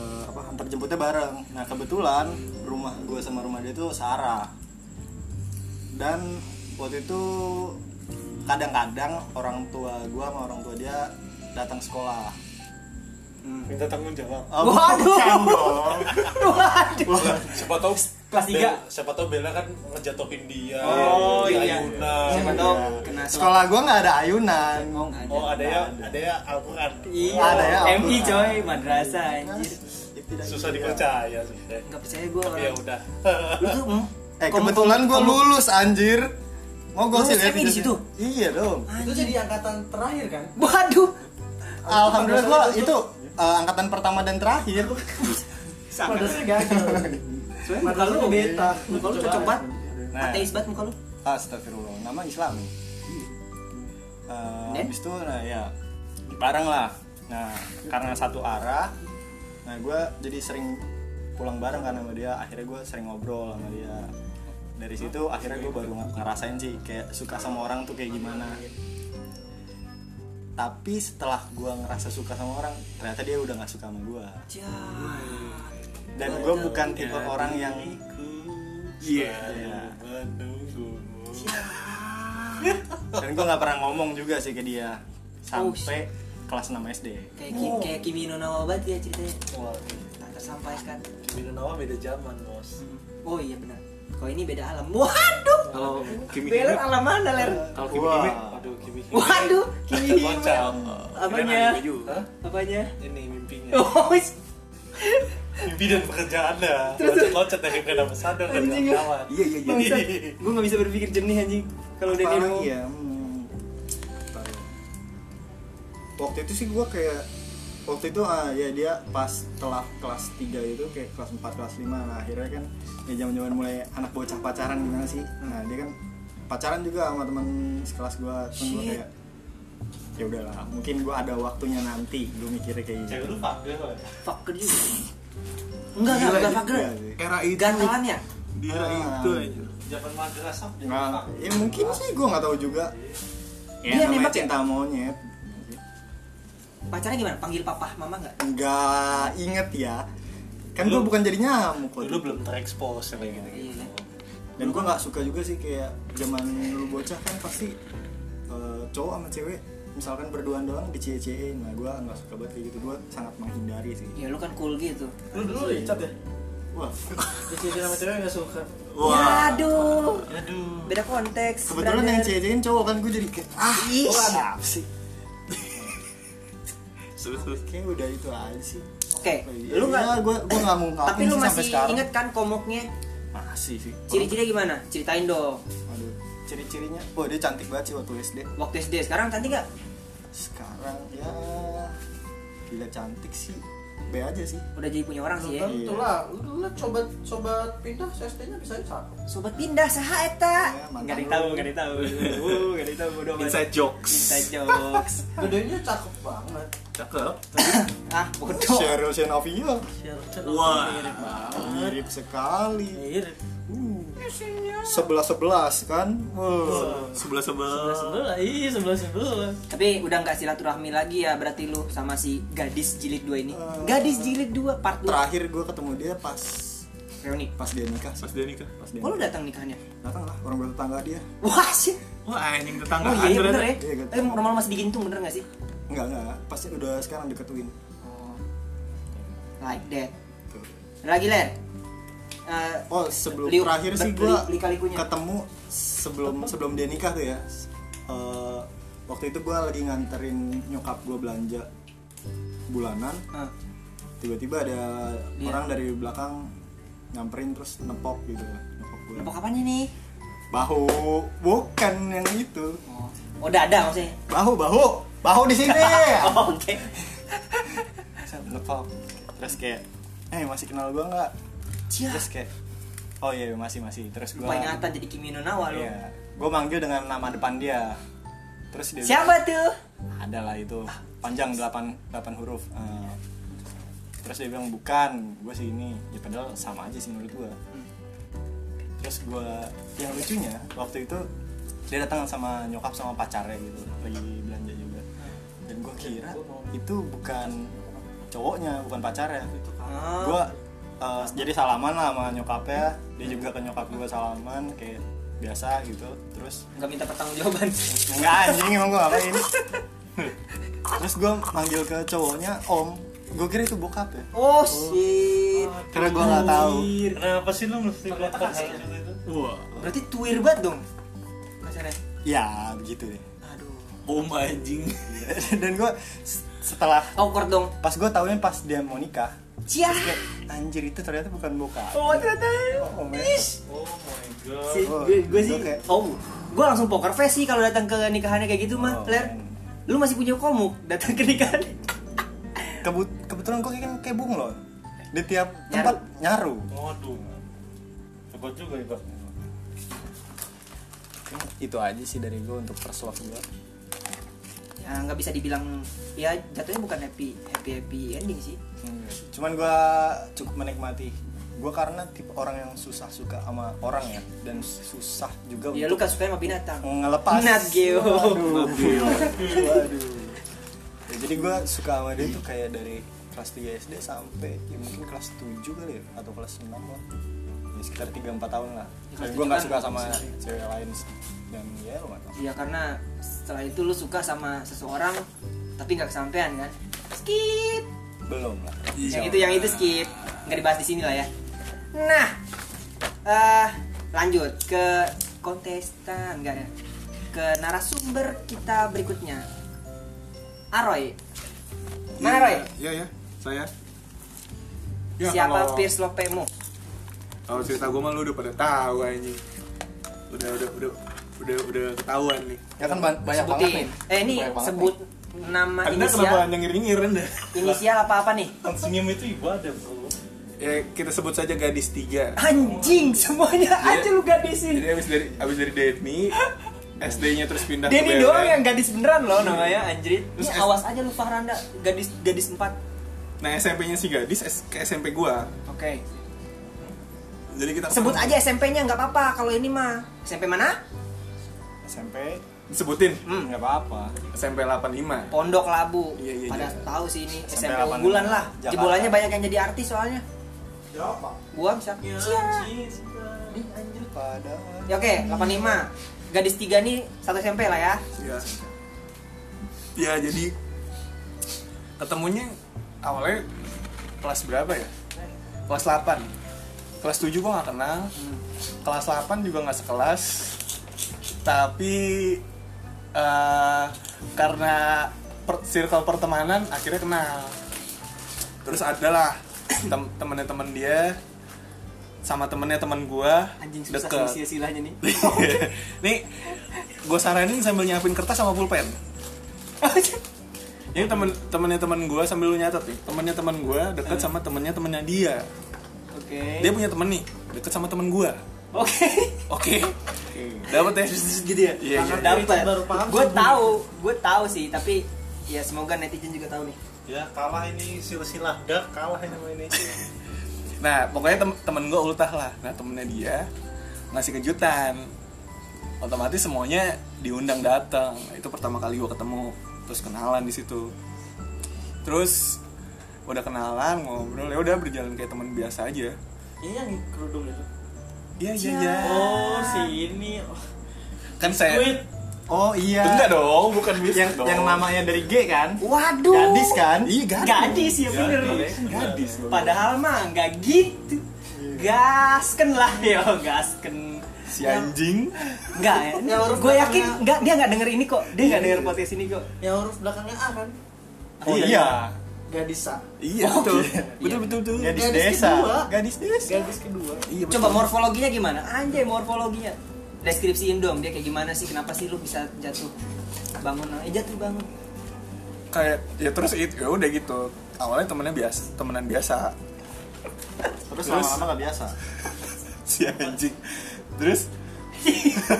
[SPEAKER 3] eh, apa antar jemputnya bareng nah kebetulan rumah gue sama rumah dia tuh searah dan waktu itu kadang-kadang orang tua gue sama orang tua dia datang sekolah
[SPEAKER 4] Minta tanggung jawab.
[SPEAKER 3] Oh,
[SPEAKER 1] Waduh.
[SPEAKER 3] bukan dong.
[SPEAKER 2] Siapa tahu
[SPEAKER 1] Kelas tiga.
[SPEAKER 2] Bella- Siapa tahu Bella kan ngejatuhin dia.
[SPEAKER 1] Oh,
[SPEAKER 2] dia
[SPEAKER 1] iya.
[SPEAKER 2] ayunan.
[SPEAKER 1] Siapa
[SPEAKER 3] Iya.
[SPEAKER 1] tahu kena
[SPEAKER 3] sekolah gua nggak ada ayunan
[SPEAKER 1] Oh, nggak
[SPEAKER 4] Oh ada ya ada ya Al-Quran.
[SPEAKER 1] Iya,
[SPEAKER 3] Ada ya, ampun.
[SPEAKER 1] MI coy, madrasah anjir. Iya.
[SPEAKER 4] Susah
[SPEAKER 3] Eh,
[SPEAKER 4] dipercaya sebenarnya.
[SPEAKER 1] Enggak percaya gua
[SPEAKER 4] Ya
[SPEAKER 1] orang.
[SPEAKER 4] udah.
[SPEAKER 1] Lu tuh hmm?
[SPEAKER 3] Iya, eh kebetulan gua lulus anjir mau gua sih
[SPEAKER 1] Lulus
[SPEAKER 3] lihat
[SPEAKER 1] MI di
[SPEAKER 3] videonya.
[SPEAKER 1] situ?
[SPEAKER 3] iya dong
[SPEAKER 5] itu jadi angkatan terakhir kan
[SPEAKER 1] Iya, Waduh. Ah.
[SPEAKER 3] alhamdulillah gua itu eh, angkatan pertama dan terakhir
[SPEAKER 1] Sangat.
[SPEAKER 5] muka lu beta
[SPEAKER 1] Muka lu cocok banget.
[SPEAKER 3] Nah.
[SPEAKER 1] Ateis banget muka lu.
[SPEAKER 3] astagfirullah nama Islam Eh,
[SPEAKER 1] Dan?
[SPEAKER 3] habis itu nah ya bareng lah nah karena satu arah nah gua jadi sering pulang bareng karena sama dia akhirnya gua sering ngobrol sama dia dari situ akhirnya gue baru nge- ngerasain sih kayak suka sama orang tuh kayak gimana tapi setelah gua ngerasa suka sama orang ternyata dia udah nggak suka sama gua dan gue bukan tipe orang yang
[SPEAKER 2] Iya.
[SPEAKER 3] Iya.
[SPEAKER 4] Menunggumu.
[SPEAKER 3] dan gue nggak pernah ngomong juga sih ke dia
[SPEAKER 1] Oh,
[SPEAKER 3] sampai kelas 6 SD
[SPEAKER 1] Kayak Ki- kayak Kimi no Na wa banget ya ceritanya. Tak tersampaikan.
[SPEAKER 4] Minum beda zaman bos.
[SPEAKER 1] Oh iya benar. Kalau ini beda alam. Waduh.
[SPEAKER 2] Kalau Kimi
[SPEAKER 1] Beler alam mana, Ler?
[SPEAKER 2] kalau Kimi Kimi
[SPEAKER 4] Aduh Kimi Kimi.
[SPEAKER 1] Waduh, Kimi.
[SPEAKER 4] Kocak.
[SPEAKER 1] Apanya?
[SPEAKER 2] kirain anime juga.
[SPEAKER 1] Apanya?
[SPEAKER 4] Ini mimpinya.
[SPEAKER 1] Oh, is-
[SPEAKER 4] Mimpi dan pekerjaan dah. Loncat-loncat dari pernah sadar dan
[SPEAKER 1] Anjing.
[SPEAKER 4] kawan.
[SPEAKER 3] iya iya
[SPEAKER 1] Bangsa, gue gak bisa berpikir jernih anjing kalau udah
[SPEAKER 3] Apalagi
[SPEAKER 1] demo.
[SPEAKER 3] ya, hmm, apa ya? waktu itu sih gue kayak waktu itu ah ya dia pas telah kelas 3 itu kayak kelas 4 kelas 5 nah akhirnya kan ya zaman zaman mulai anak bocah pacaran gimana sih nah dia kan pacaran juga sama teman sekelas gue cuman gue
[SPEAKER 1] Shit.
[SPEAKER 3] kayak ya udahlah mungkin gue ada waktunya nanti gue mikirnya kayak gitu
[SPEAKER 4] Cewek lu pakai kok ya?
[SPEAKER 1] Fucker juga. Enggak, enggak, enggak fucker.
[SPEAKER 3] Iya sih.
[SPEAKER 2] Era itu.
[SPEAKER 1] Gantelan ya?
[SPEAKER 2] Di era itu aja.
[SPEAKER 4] Zaman madrasah.
[SPEAKER 3] Nah, ya mungkin sih gue nggak tahu juga.
[SPEAKER 1] Dia
[SPEAKER 3] namanya
[SPEAKER 1] nembak ya?
[SPEAKER 3] cinta monyet.
[SPEAKER 1] Pacarnya gimana? Panggil papa, mama enggak?
[SPEAKER 3] Enggak inget ya. Kan gue
[SPEAKER 4] Lu-
[SPEAKER 3] bukan jadi nyamuk
[SPEAKER 4] Dulu
[SPEAKER 3] waktu itu.
[SPEAKER 4] belum terekspos kayak gitu.
[SPEAKER 1] Iya.
[SPEAKER 3] Dan gue nggak suka juga sih kayak zaman lu bocah kan pasti eh, cowok sama cewek misalkan berduaan doang di cie nah gue nggak suka banget kayak gitu gue sangat menghindari sih
[SPEAKER 1] Ya lu kan cool gitu.
[SPEAKER 5] lu dulu dicat ya
[SPEAKER 3] wah
[SPEAKER 5] dicat sama cewek nggak suka
[SPEAKER 1] Waduh.
[SPEAKER 4] Aduh.
[SPEAKER 1] Beda konteks.
[SPEAKER 3] kebetulan yang
[SPEAKER 1] brother.
[SPEAKER 3] cie cowok kan gue jadi kayak ah
[SPEAKER 1] Ih.
[SPEAKER 3] gue apa sih
[SPEAKER 2] Terus terus.
[SPEAKER 3] kayak udah itu aja sih
[SPEAKER 1] Oke,
[SPEAKER 3] lu
[SPEAKER 1] lu
[SPEAKER 3] nggak
[SPEAKER 1] enggak
[SPEAKER 3] gue gue nggak mau ngapain
[SPEAKER 1] tapi lu
[SPEAKER 3] Iya. sih sampai
[SPEAKER 1] masih
[SPEAKER 3] sekarang.
[SPEAKER 1] inget kan komoknya?
[SPEAKER 3] masih sih
[SPEAKER 1] Ciri-cirinya gimana? Ceritain dong.
[SPEAKER 3] Aduh, ciri-cirinya, wah dia cantik banget sih waktu SD.
[SPEAKER 1] Waktu SD sekarang cantik gak?
[SPEAKER 3] Sekarang ya, gila cantik sih. B aja sih
[SPEAKER 1] udah jadi punya orang sih ya
[SPEAKER 3] Iya.
[SPEAKER 6] Tentu lah, lu dulu coba coba pindah SST-nya bisa aja satu.
[SPEAKER 1] sobat pindah saha eta
[SPEAKER 3] Ya, mantan
[SPEAKER 1] nggak ada yang
[SPEAKER 3] lu.
[SPEAKER 1] tahu nggak ada yang tahu nggak ada yang tahu bodo amat.
[SPEAKER 2] Inside jokes.
[SPEAKER 1] inside jokes
[SPEAKER 6] Gedenya cakep banget.
[SPEAKER 2] Cakep.
[SPEAKER 1] ah bodoh
[SPEAKER 3] Cheryl Shenovia
[SPEAKER 2] Wah.
[SPEAKER 1] Iya,
[SPEAKER 5] mirip banget
[SPEAKER 3] mirip sekali
[SPEAKER 5] mirip
[SPEAKER 3] sebelas sebelas kan Wah.
[SPEAKER 2] Sebelah
[SPEAKER 5] sebelah
[SPEAKER 2] sebelah.
[SPEAKER 5] sebelah iya sebelah sebelah
[SPEAKER 1] tapi udah nggak silaturahmi lagi ya berarti lu sama si gadis jilid 2 ini gadis jilid 2 part 2
[SPEAKER 3] terakhir gue ketemu dia pas
[SPEAKER 1] reuni
[SPEAKER 3] pas dia nikah sih.
[SPEAKER 2] Pas dia nikah.
[SPEAKER 3] pas dia
[SPEAKER 1] oh lu datang nikahnya
[SPEAKER 3] datang lah orang bertetangga dia
[SPEAKER 1] wah sih
[SPEAKER 2] Wah anjing tetangga.
[SPEAKER 1] oh iya, iya bener ya
[SPEAKER 3] Iya, gitu.
[SPEAKER 1] tapi normal masih digintung bener nggak sih
[SPEAKER 3] enggak enggak pasti udah sekarang deketuin
[SPEAKER 1] like that
[SPEAKER 3] Tuh.
[SPEAKER 1] lagi ler Eh,
[SPEAKER 3] oh sebelum
[SPEAKER 1] Liu-
[SPEAKER 3] terakhir sih
[SPEAKER 1] ber-
[SPEAKER 3] gue
[SPEAKER 1] li- lika-likunya.
[SPEAKER 3] ketemu sebelum sebelum dia nikah tuh ya Eh, waktu itu gue lagi nganterin nyokap gue belanja bulanan
[SPEAKER 1] ah,
[SPEAKER 3] tiba-tiba ada
[SPEAKER 1] Iya.
[SPEAKER 3] orang dari belakang nyamperin terus nepok gitu nepok gue
[SPEAKER 1] nepok apanya nih
[SPEAKER 3] bahu bukan yang itu
[SPEAKER 1] oh, oh dada maksudnya
[SPEAKER 3] bahu bahu bahu di sini
[SPEAKER 1] oh, oke
[SPEAKER 3] nepok terus kayak eh masih kenal gue nggak
[SPEAKER 1] Cia.
[SPEAKER 3] terus kayak oh iya masih masih terus gue
[SPEAKER 1] lupa ingatan jadi Kimi no Nawa lu
[SPEAKER 3] iya gue manggil dengan nama depan dia terus dia
[SPEAKER 1] siapa tuh
[SPEAKER 3] ada lah itu panjang 8 8 huruf Eh, terus dia bilang bukan gue sih ini ya padahal sama aja sih menurut gue terus gue yang lucunya waktu itu dia datang sama nyokap sama pacarnya gitu lagi belanja juga dan gue kira itu bukan cowoknya bukan pacarnya
[SPEAKER 1] Ah,
[SPEAKER 3] gue jadi salaman lah sama nyokapnya dia juga ke nyokap gue salaman kayak biasa gitu terus
[SPEAKER 1] nggak minta pertanggungjawaban
[SPEAKER 3] Enggak anjing emang gue ngapain Terus gue manggil ke cowoknya om Gue kira itu bokap ya
[SPEAKER 1] oh shit
[SPEAKER 3] Karena gue gak tahu
[SPEAKER 4] Kenapa sih lu mesti melakukan hal seperti itu?
[SPEAKER 2] Wah.
[SPEAKER 1] berarti tuir banget dong pacarnya
[SPEAKER 3] Ya begitu deh
[SPEAKER 1] aduh
[SPEAKER 2] Om anjing.
[SPEAKER 3] Dan gue setelah
[SPEAKER 1] awkward dong
[SPEAKER 3] Pas gue taunya pas dia mau nikah
[SPEAKER 1] cia
[SPEAKER 3] kayak, Anjir itu ternyata bukan bokap
[SPEAKER 1] oh ternyata
[SPEAKER 3] Oh, men.
[SPEAKER 4] Oh my god.
[SPEAKER 1] si,
[SPEAKER 3] Oh,
[SPEAKER 1] gue, gue sih
[SPEAKER 3] oke.
[SPEAKER 1] oh gue langsung poker face sih kalau datang ke nikahannya kayak gitu mah
[SPEAKER 3] Oh,
[SPEAKER 1] ler
[SPEAKER 3] men.
[SPEAKER 1] lu masih punya komuk datang ke nikahan
[SPEAKER 3] Kebut- Kebetulan gue kan kebung loh Di tiap tempat nyaru
[SPEAKER 4] Waduh. Hebat juga ya, hebat.
[SPEAKER 3] Itu aja sih dari gue untuk persuas gue
[SPEAKER 1] ya nggak bisa dibilang ya jatuhnya bukan happy happy happy ending sih
[SPEAKER 3] Cuman gue cukup menikmati Gue karena tipe orang yang susah suka sama orang ya Dan susah juga
[SPEAKER 1] ya lu kan suka sama binatang
[SPEAKER 3] ngelepas
[SPEAKER 1] Nat Geo.
[SPEAKER 3] Waduh. Waduh. Ya, jadi gue suka sama dia tuh kayak dari kelas 3 SD sampai ya mungkin kelas 7 kali ya atau kelas 6 lah ya sekitar 3-4 tahun lah
[SPEAKER 1] Ya,
[SPEAKER 3] dan
[SPEAKER 1] kelas
[SPEAKER 3] gue gak
[SPEAKER 1] 7
[SPEAKER 3] suka
[SPEAKER 1] kan
[SPEAKER 3] sama
[SPEAKER 1] masih-
[SPEAKER 3] cewek lain dan ya lo gak tau
[SPEAKER 1] ya karena setelah itu lu suka sama seseorang tapi nggak kesampaian kan skip
[SPEAKER 3] belum lah Iya.
[SPEAKER 1] yang itu yang itu skip nggak dibahas di sini lah ya nah eh lanjut ke kontestan enggak ya ke narasumber kita berikutnya Aroy mana Roy
[SPEAKER 2] Iya ya, saya.
[SPEAKER 3] Iya, ya,
[SPEAKER 2] Ya,
[SPEAKER 1] siapa
[SPEAKER 2] kalau-
[SPEAKER 1] Pierce Lopemu
[SPEAKER 2] Kalau cerita gue mah lu udah pada tahu anjing. Udah udah udah udah udah ketahuan nih.
[SPEAKER 3] ya kan ba- banyak banget
[SPEAKER 1] sebutin
[SPEAKER 3] nih
[SPEAKER 1] eh ini
[SPEAKER 3] Banyak banget
[SPEAKER 1] sebut nama
[SPEAKER 2] Anda
[SPEAKER 1] Nah, inisial
[SPEAKER 2] kenapa nyengir-nyengir Anda?
[SPEAKER 1] inisial apa apa nih
[SPEAKER 3] Iya.
[SPEAKER 4] Senyum itu ibadah bro.
[SPEAKER 2] Ya kita sebut saja gadis tiga.
[SPEAKER 1] anjing semuanya
[SPEAKER 3] Iya.
[SPEAKER 1] aja lu
[SPEAKER 2] Jadi
[SPEAKER 1] gadisin
[SPEAKER 2] abis dari abis dari Denny, SD-nya terus pindah ke
[SPEAKER 3] Iya.
[SPEAKER 2] E.
[SPEAKER 1] Denny
[SPEAKER 2] BLM.
[SPEAKER 1] doang yang gadis beneran loh namanya anjrit
[SPEAKER 2] Terus
[SPEAKER 1] Ini
[SPEAKER 2] S-
[SPEAKER 1] awas aja lu Fahranda gadis gadis empat
[SPEAKER 2] Nah SMP-nya si gadis S- ke SMP gua.
[SPEAKER 1] oke
[SPEAKER 2] Jadi kita
[SPEAKER 1] Sebut aja SMP-nya nggak apa-apa kalau ini mah. SMP mana?
[SPEAKER 3] SMP
[SPEAKER 2] Sebutin
[SPEAKER 1] Hmm.
[SPEAKER 3] nggak apa-apa
[SPEAKER 2] SMP 85.
[SPEAKER 1] Pondok Labu.
[SPEAKER 2] Iya, iya,
[SPEAKER 1] Pada
[SPEAKER 2] iya.
[SPEAKER 1] tahu sih ini
[SPEAKER 3] SMP
[SPEAKER 1] SMP,
[SPEAKER 3] 86,
[SPEAKER 1] unggulan lah.
[SPEAKER 3] Jakarta.
[SPEAKER 1] Jebolannya banyak yang jadi artis soalnya.
[SPEAKER 6] Siapa?
[SPEAKER 1] Gua bisa.
[SPEAKER 2] Iya,
[SPEAKER 5] Ya,
[SPEAKER 1] Cia.
[SPEAKER 5] cinta.
[SPEAKER 3] anjir pada
[SPEAKER 1] Ya oke, 85. Gadis tiga nih satu SMP lah ya.
[SPEAKER 2] Ya. Ya jadi ketemunya awalnya kelas berapa ya? Kelas 8. Kelas 7 gua nggak kenal. Kelas 8 juga nggak sekelas. Tapi eh, karena per, circle pertemanan akhirnya kenal. Terus adalah tem temennya temen dia sama temennya teman gua
[SPEAKER 1] Anjing susah
[SPEAKER 2] deket.
[SPEAKER 1] sih silahnya nih.
[SPEAKER 2] Nih, gue saranin sambil nyiapin kertas sama pulpen. Ini temen temennya temen gue sambil lu nyatet nih. Temennya temen gue deket sama temennya temennya dia.
[SPEAKER 1] Oke.
[SPEAKER 2] Dia punya temen nih deket sama temen gue.
[SPEAKER 1] Oke.
[SPEAKER 2] Oke. Dapat ya?
[SPEAKER 1] Gitu ya.
[SPEAKER 2] Iya, iya.
[SPEAKER 1] Dapat.
[SPEAKER 5] Baru paham
[SPEAKER 1] Gue
[SPEAKER 5] sih.
[SPEAKER 1] tahu, gue tahu sih, tapi ya semoga netizen juga tahu nih.
[SPEAKER 4] ya kalah ini silsilah dark kalah ini sama ini
[SPEAKER 2] Nah, pokoknya tem temen gue ultah lah. Nah, temennya dia ngasih kejutan. Otomatis semuanya diundang datang. Nah, itu pertama kali gue ketemu, terus kenalan di situ. Terus udah kenalan, ngobrol, ya udah berjalan kayak teman biasa aja.
[SPEAKER 5] Ini yang kerudung itu.
[SPEAKER 2] Iya, iya, iya.
[SPEAKER 5] Oh, si ini. Oh,
[SPEAKER 2] kan saya
[SPEAKER 5] Squid.
[SPEAKER 3] Oh iya.
[SPEAKER 2] Enggak dong, bukan biskuit
[SPEAKER 3] Yang
[SPEAKER 2] dong.
[SPEAKER 3] yang namanya dari G kan?
[SPEAKER 1] Waduh.
[SPEAKER 3] Gadis kan?
[SPEAKER 2] Iya, gadis.
[SPEAKER 1] Gadis ya bener.
[SPEAKER 2] Gadis.
[SPEAKER 1] Padahal mah nggak gitu.
[SPEAKER 2] Iya.
[SPEAKER 1] Gasken lah yo, gasken.
[SPEAKER 2] Si anjing.
[SPEAKER 1] Enggak ya.
[SPEAKER 6] Ya, huruf
[SPEAKER 1] Gue yakin
[SPEAKER 6] belakangnya-
[SPEAKER 1] enggak dia nggak denger ini kok. Dia
[SPEAKER 2] Iya,
[SPEAKER 1] nggak denger podcast ini kok.
[SPEAKER 6] Yang huruf belakangnya A kan?
[SPEAKER 2] Oh, iya.
[SPEAKER 6] Gadis A.
[SPEAKER 2] Iya, betul. Betul, betul, betul.
[SPEAKER 3] Gadis,
[SPEAKER 6] Gadis
[SPEAKER 3] desa.
[SPEAKER 6] kedua.
[SPEAKER 3] Gadis desa.
[SPEAKER 6] Gadis kedua.
[SPEAKER 2] Iya,
[SPEAKER 1] Coba
[SPEAKER 2] betul.
[SPEAKER 1] morfologinya gimana? Anjay morfologinya. Deskripsiin dong dia kayak gimana sih? Kenapa sih lu bisa jatuh? Bangun. Eh jatuh bangun.
[SPEAKER 2] kayak ya terus itu ya udah gitu. Awalnya temennya biasa, temenan biasa.
[SPEAKER 3] Terus lama-lama gak biasa.
[SPEAKER 2] si anjing terus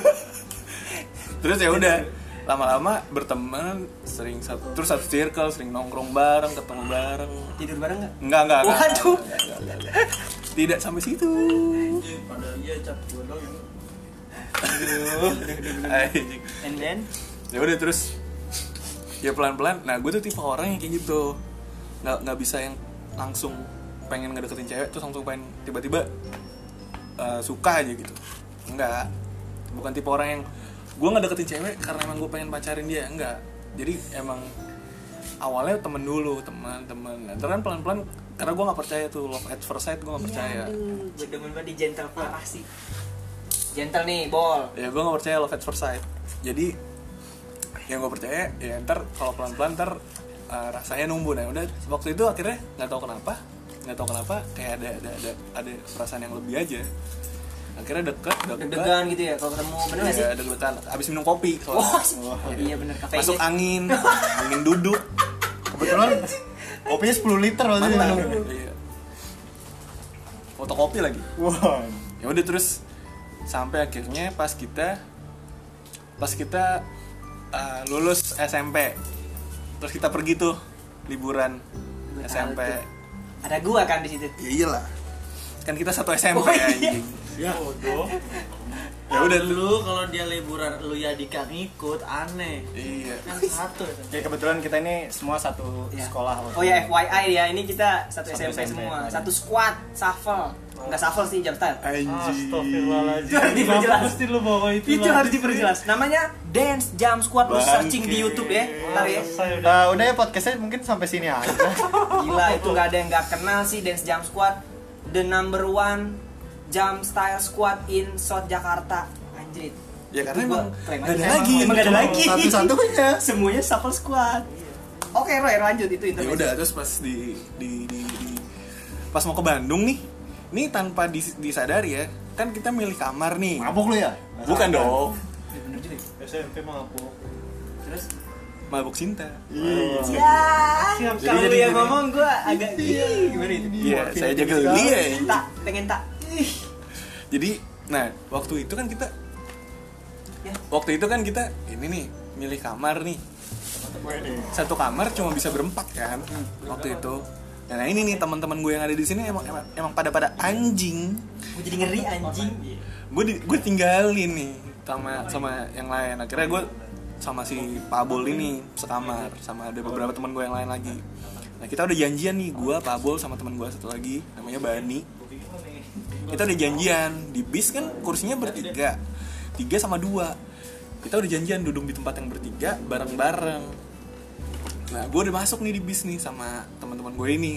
[SPEAKER 2] terus ya udah lama-lama berteman sering satu terus satu circle sering nongkrong bareng ketemu bareng
[SPEAKER 1] Tidur bareng nggak?
[SPEAKER 2] enggak enggak enggak
[SPEAKER 1] Waduh.
[SPEAKER 2] enggak, enggak, enggak, enggak. tidak sampai situ
[SPEAKER 5] Iya, Pada iya cap godol yang
[SPEAKER 2] Anjing.
[SPEAKER 1] And then
[SPEAKER 2] ya udah terus ya pelan-pelan nah gue tuh tipe orang yang kayak gitu nggak nggak bisa yang langsung pengen ngedeketin cewek terus langsung pengen tiba-tiba eh, suka aja gitu enggak bukan tipe orang yang gue ngedeketin cewek karena emang gue pengen pacarin dia enggak jadi emang awalnya temen dulu teman teman nah, terus kan pelan-pelan karena gue nggak percaya tuh love at first sight gue nggak percaya
[SPEAKER 1] gue demen banget di gentle parah
[SPEAKER 5] Ah,
[SPEAKER 1] sih. Gentle nih, bol.
[SPEAKER 2] ya gue gak percaya love at first sight jadi yang gue percaya ya ntar kalau pelan pelan ntar uh, rasanya numbuh nah udah waktu itu akhirnya nggak tahu kenapa nggak tahu kenapa kayak ada ada ada ada perasaan yang lebih aja akhirnya deket deket
[SPEAKER 1] Deg-degan gitu ya kalau ketemu. Bener nggak sih?
[SPEAKER 2] ya deg-degan abis minum kopi soalnya.
[SPEAKER 1] Wah, iya bener kafeinnya.
[SPEAKER 2] masuk angin angin duduk
[SPEAKER 3] Kebetulan kopinya 10 liter waktu itu.
[SPEAKER 2] mantap Iya. fotokopi lagi
[SPEAKER 3] Wah.
[SPEAKER 2] ya udah terus sampai akhirnya pas kita pas kita uh, lulus SMP terus kita pergi tuh liburan
[SPEAKER 1] Gua
[SPEAKER 2] SMP
[SPEAKER 1] tahu Ada gua kan di situ.
[SPEAKER 2] ya iyalah kan kita satu SMP
[SPEAKER 1] Oh, iya.
[SPEAKER 2] anjing.
[SPEAKER 5] bodoh.
[SPEAKER 2] ya udah tuh
[SPEAKER 5] Lu kalau dia liburan lu ya dika ngikut aneh.
[SPEAKER 2] iya
[SPEAKER 5] Kan satu.
[SPEAKER 3] Ya kebetulan kita ini semua satu
[SPEAKER 1] Ya.
[SPEAKER 3] sekolah.
[SPEAKER 1] Oh ya FYI ya, ini kita satu,
[SPEAKER 3] Satu
[SPEAKER 1] SMP,
[SPEAKER 3] SMP,
[SPEAKER 1] semua,
[SPEAKER 3] iya.
[SPEAKER 1] satu squad, shuffle. Enggak shuffle sih jam style. Itu
[SPEAKER 4] Astagfirullahaladzim
[SPEAKER 1] harus diperjelas.
[SPEAKER 4] Pasti lu bawa itu
[SPEAKER 1] Itu harus diperjelas. Namanya Dance Jam Squad lu
[SPEAKER 2] Bangke.
[SPEAKER 1] searching di YouTube ya. Ntar ya.
[SPEAKER 4] Saya udah
[SPEAKER 3] Eh, udah ya podcastnya mungkin sampai sini aja.
[SPEAKER 1] Gila itu nggak ada yang nggak kenal sih Dance Jam Squad, the number one jam style squad in South Jakarta. Anjir.
[SPEAKER 2] ya karena
[SPEAKER 1] Itu
[SPEAKER 2] emang
[SPEAKER 1] gua claim
[SPEAKER 2] nggak ada
[SPEAKER 1] aja.
[SPEAKER 2] lagi
[SPEAKER 1] Emang nggak ada lagi.
[SPEAKER 3] Satu-satunya.
[SPEAKER 1] Semuanya shuffle squad. Iya. Oke, Roy, lanjut itu
[SPEAKER 2] ya
[SPEAKER 1] intermezzo.
[SPEAKER 2] udah terus pas di, di, di, di- pas mau ke Bandung nih ini tanpa dis- disadari ya kan kita milih kamar nih Nah,
[SPEAKER 3] Mabuk lu ya?
[SPEAKER 2] bukan dong
[SPEAKER 4] SMP mah aku
[SPEAKER 1] Terus
[SPEAKER 2] mabuk cinta
[SPEAKER 3] Iya.
[SPEAKER 1] ya.
[SPEAKER 4] Siap
[SPEAKER 2] Jadi-
[SPEAKER 1] Kalau
[SPEAKER 2] jadi
[SPEAKER 1] lu yang
[SPEAKER 2] gini.
[SPEAKER 1] ngomong gua agak Ih, gimana itu?
[SPEAKER 2] iya saya jaga dia anjing.
[SPEAKER 1] Tak, pengen tak. Ih.
[SPEAKER 2] Jadi, nah waktu itu kan kita,
[SPEAKER 1] Ya.
[SPEAKER 2] waktu itu kan kita ini nih milih kamar nih, satu kamar cuma bisa berempat kan waktu itu. Nah ini nih teman-teman gue yang ada di sini emang emang, emang pada pada anjing.
[SPEAKER 1] Gue jadi ngeri anjing.
[SPEAKER 2] Gue di- gue tinggalin nih sama sama yang lain. Akhirnya gue sama si Pabol ini sekamar sama ada beberapa teman gue yang lain lagi. Nah kita udah janjian nih gue Pabol sama teman gue satu lagi namanya Bani kita udah janjian di bis kan kursinya bertiga tiga sama dua kita udah janjian duduk di tempat yang bertiga bareng bareng nah gue udah masuk nih di bis nih sama teman-teman gue ini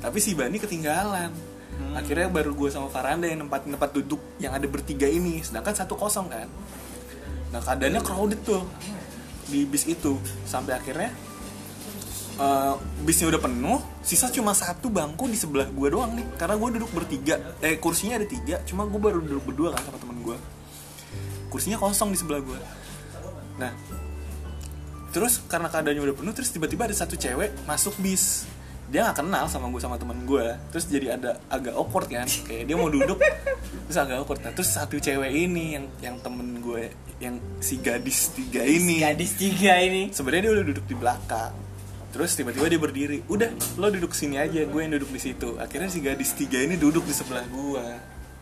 [SPEAKER 2] tapi si Bani ketinggalan akhirnya baru gue sama Faranda yang tempat tempat duduk yang ada bertiga ini sedangkan satu kosong kan nah keadaannya crowded tuh di bis itu sampai akhirnya eh, bisnya udah penuh, sisa cuma satu bangku di sebelah gue doang nih. Karena gue duduk bertiga, eh kursinya ada tiga, cuma gue baru duduk berdua kan sama temen gue. Kursinya kosong di sebelah gue. Nah, terus karena keadaannya udah penuh terus tiba-tiba ada satu cewek masuk bis dia nggak kenal sama gue sama teman gue terus jadi ada agak awkward kan kayak dia mau duduk terus agak awkward nah, terus satu cewek ini yang yang temen gue yang si gadis tiga ini
[SPEAKER 5] Gadis tiga ini.
[SPEAKER 2] sebenarnya dia udah duduk di belakang terus tiba-tiba dia berdiri udah lo duduk sini aja gue yang duduk di situ akhirnya si gadis tiga ini duduk di sebelah gue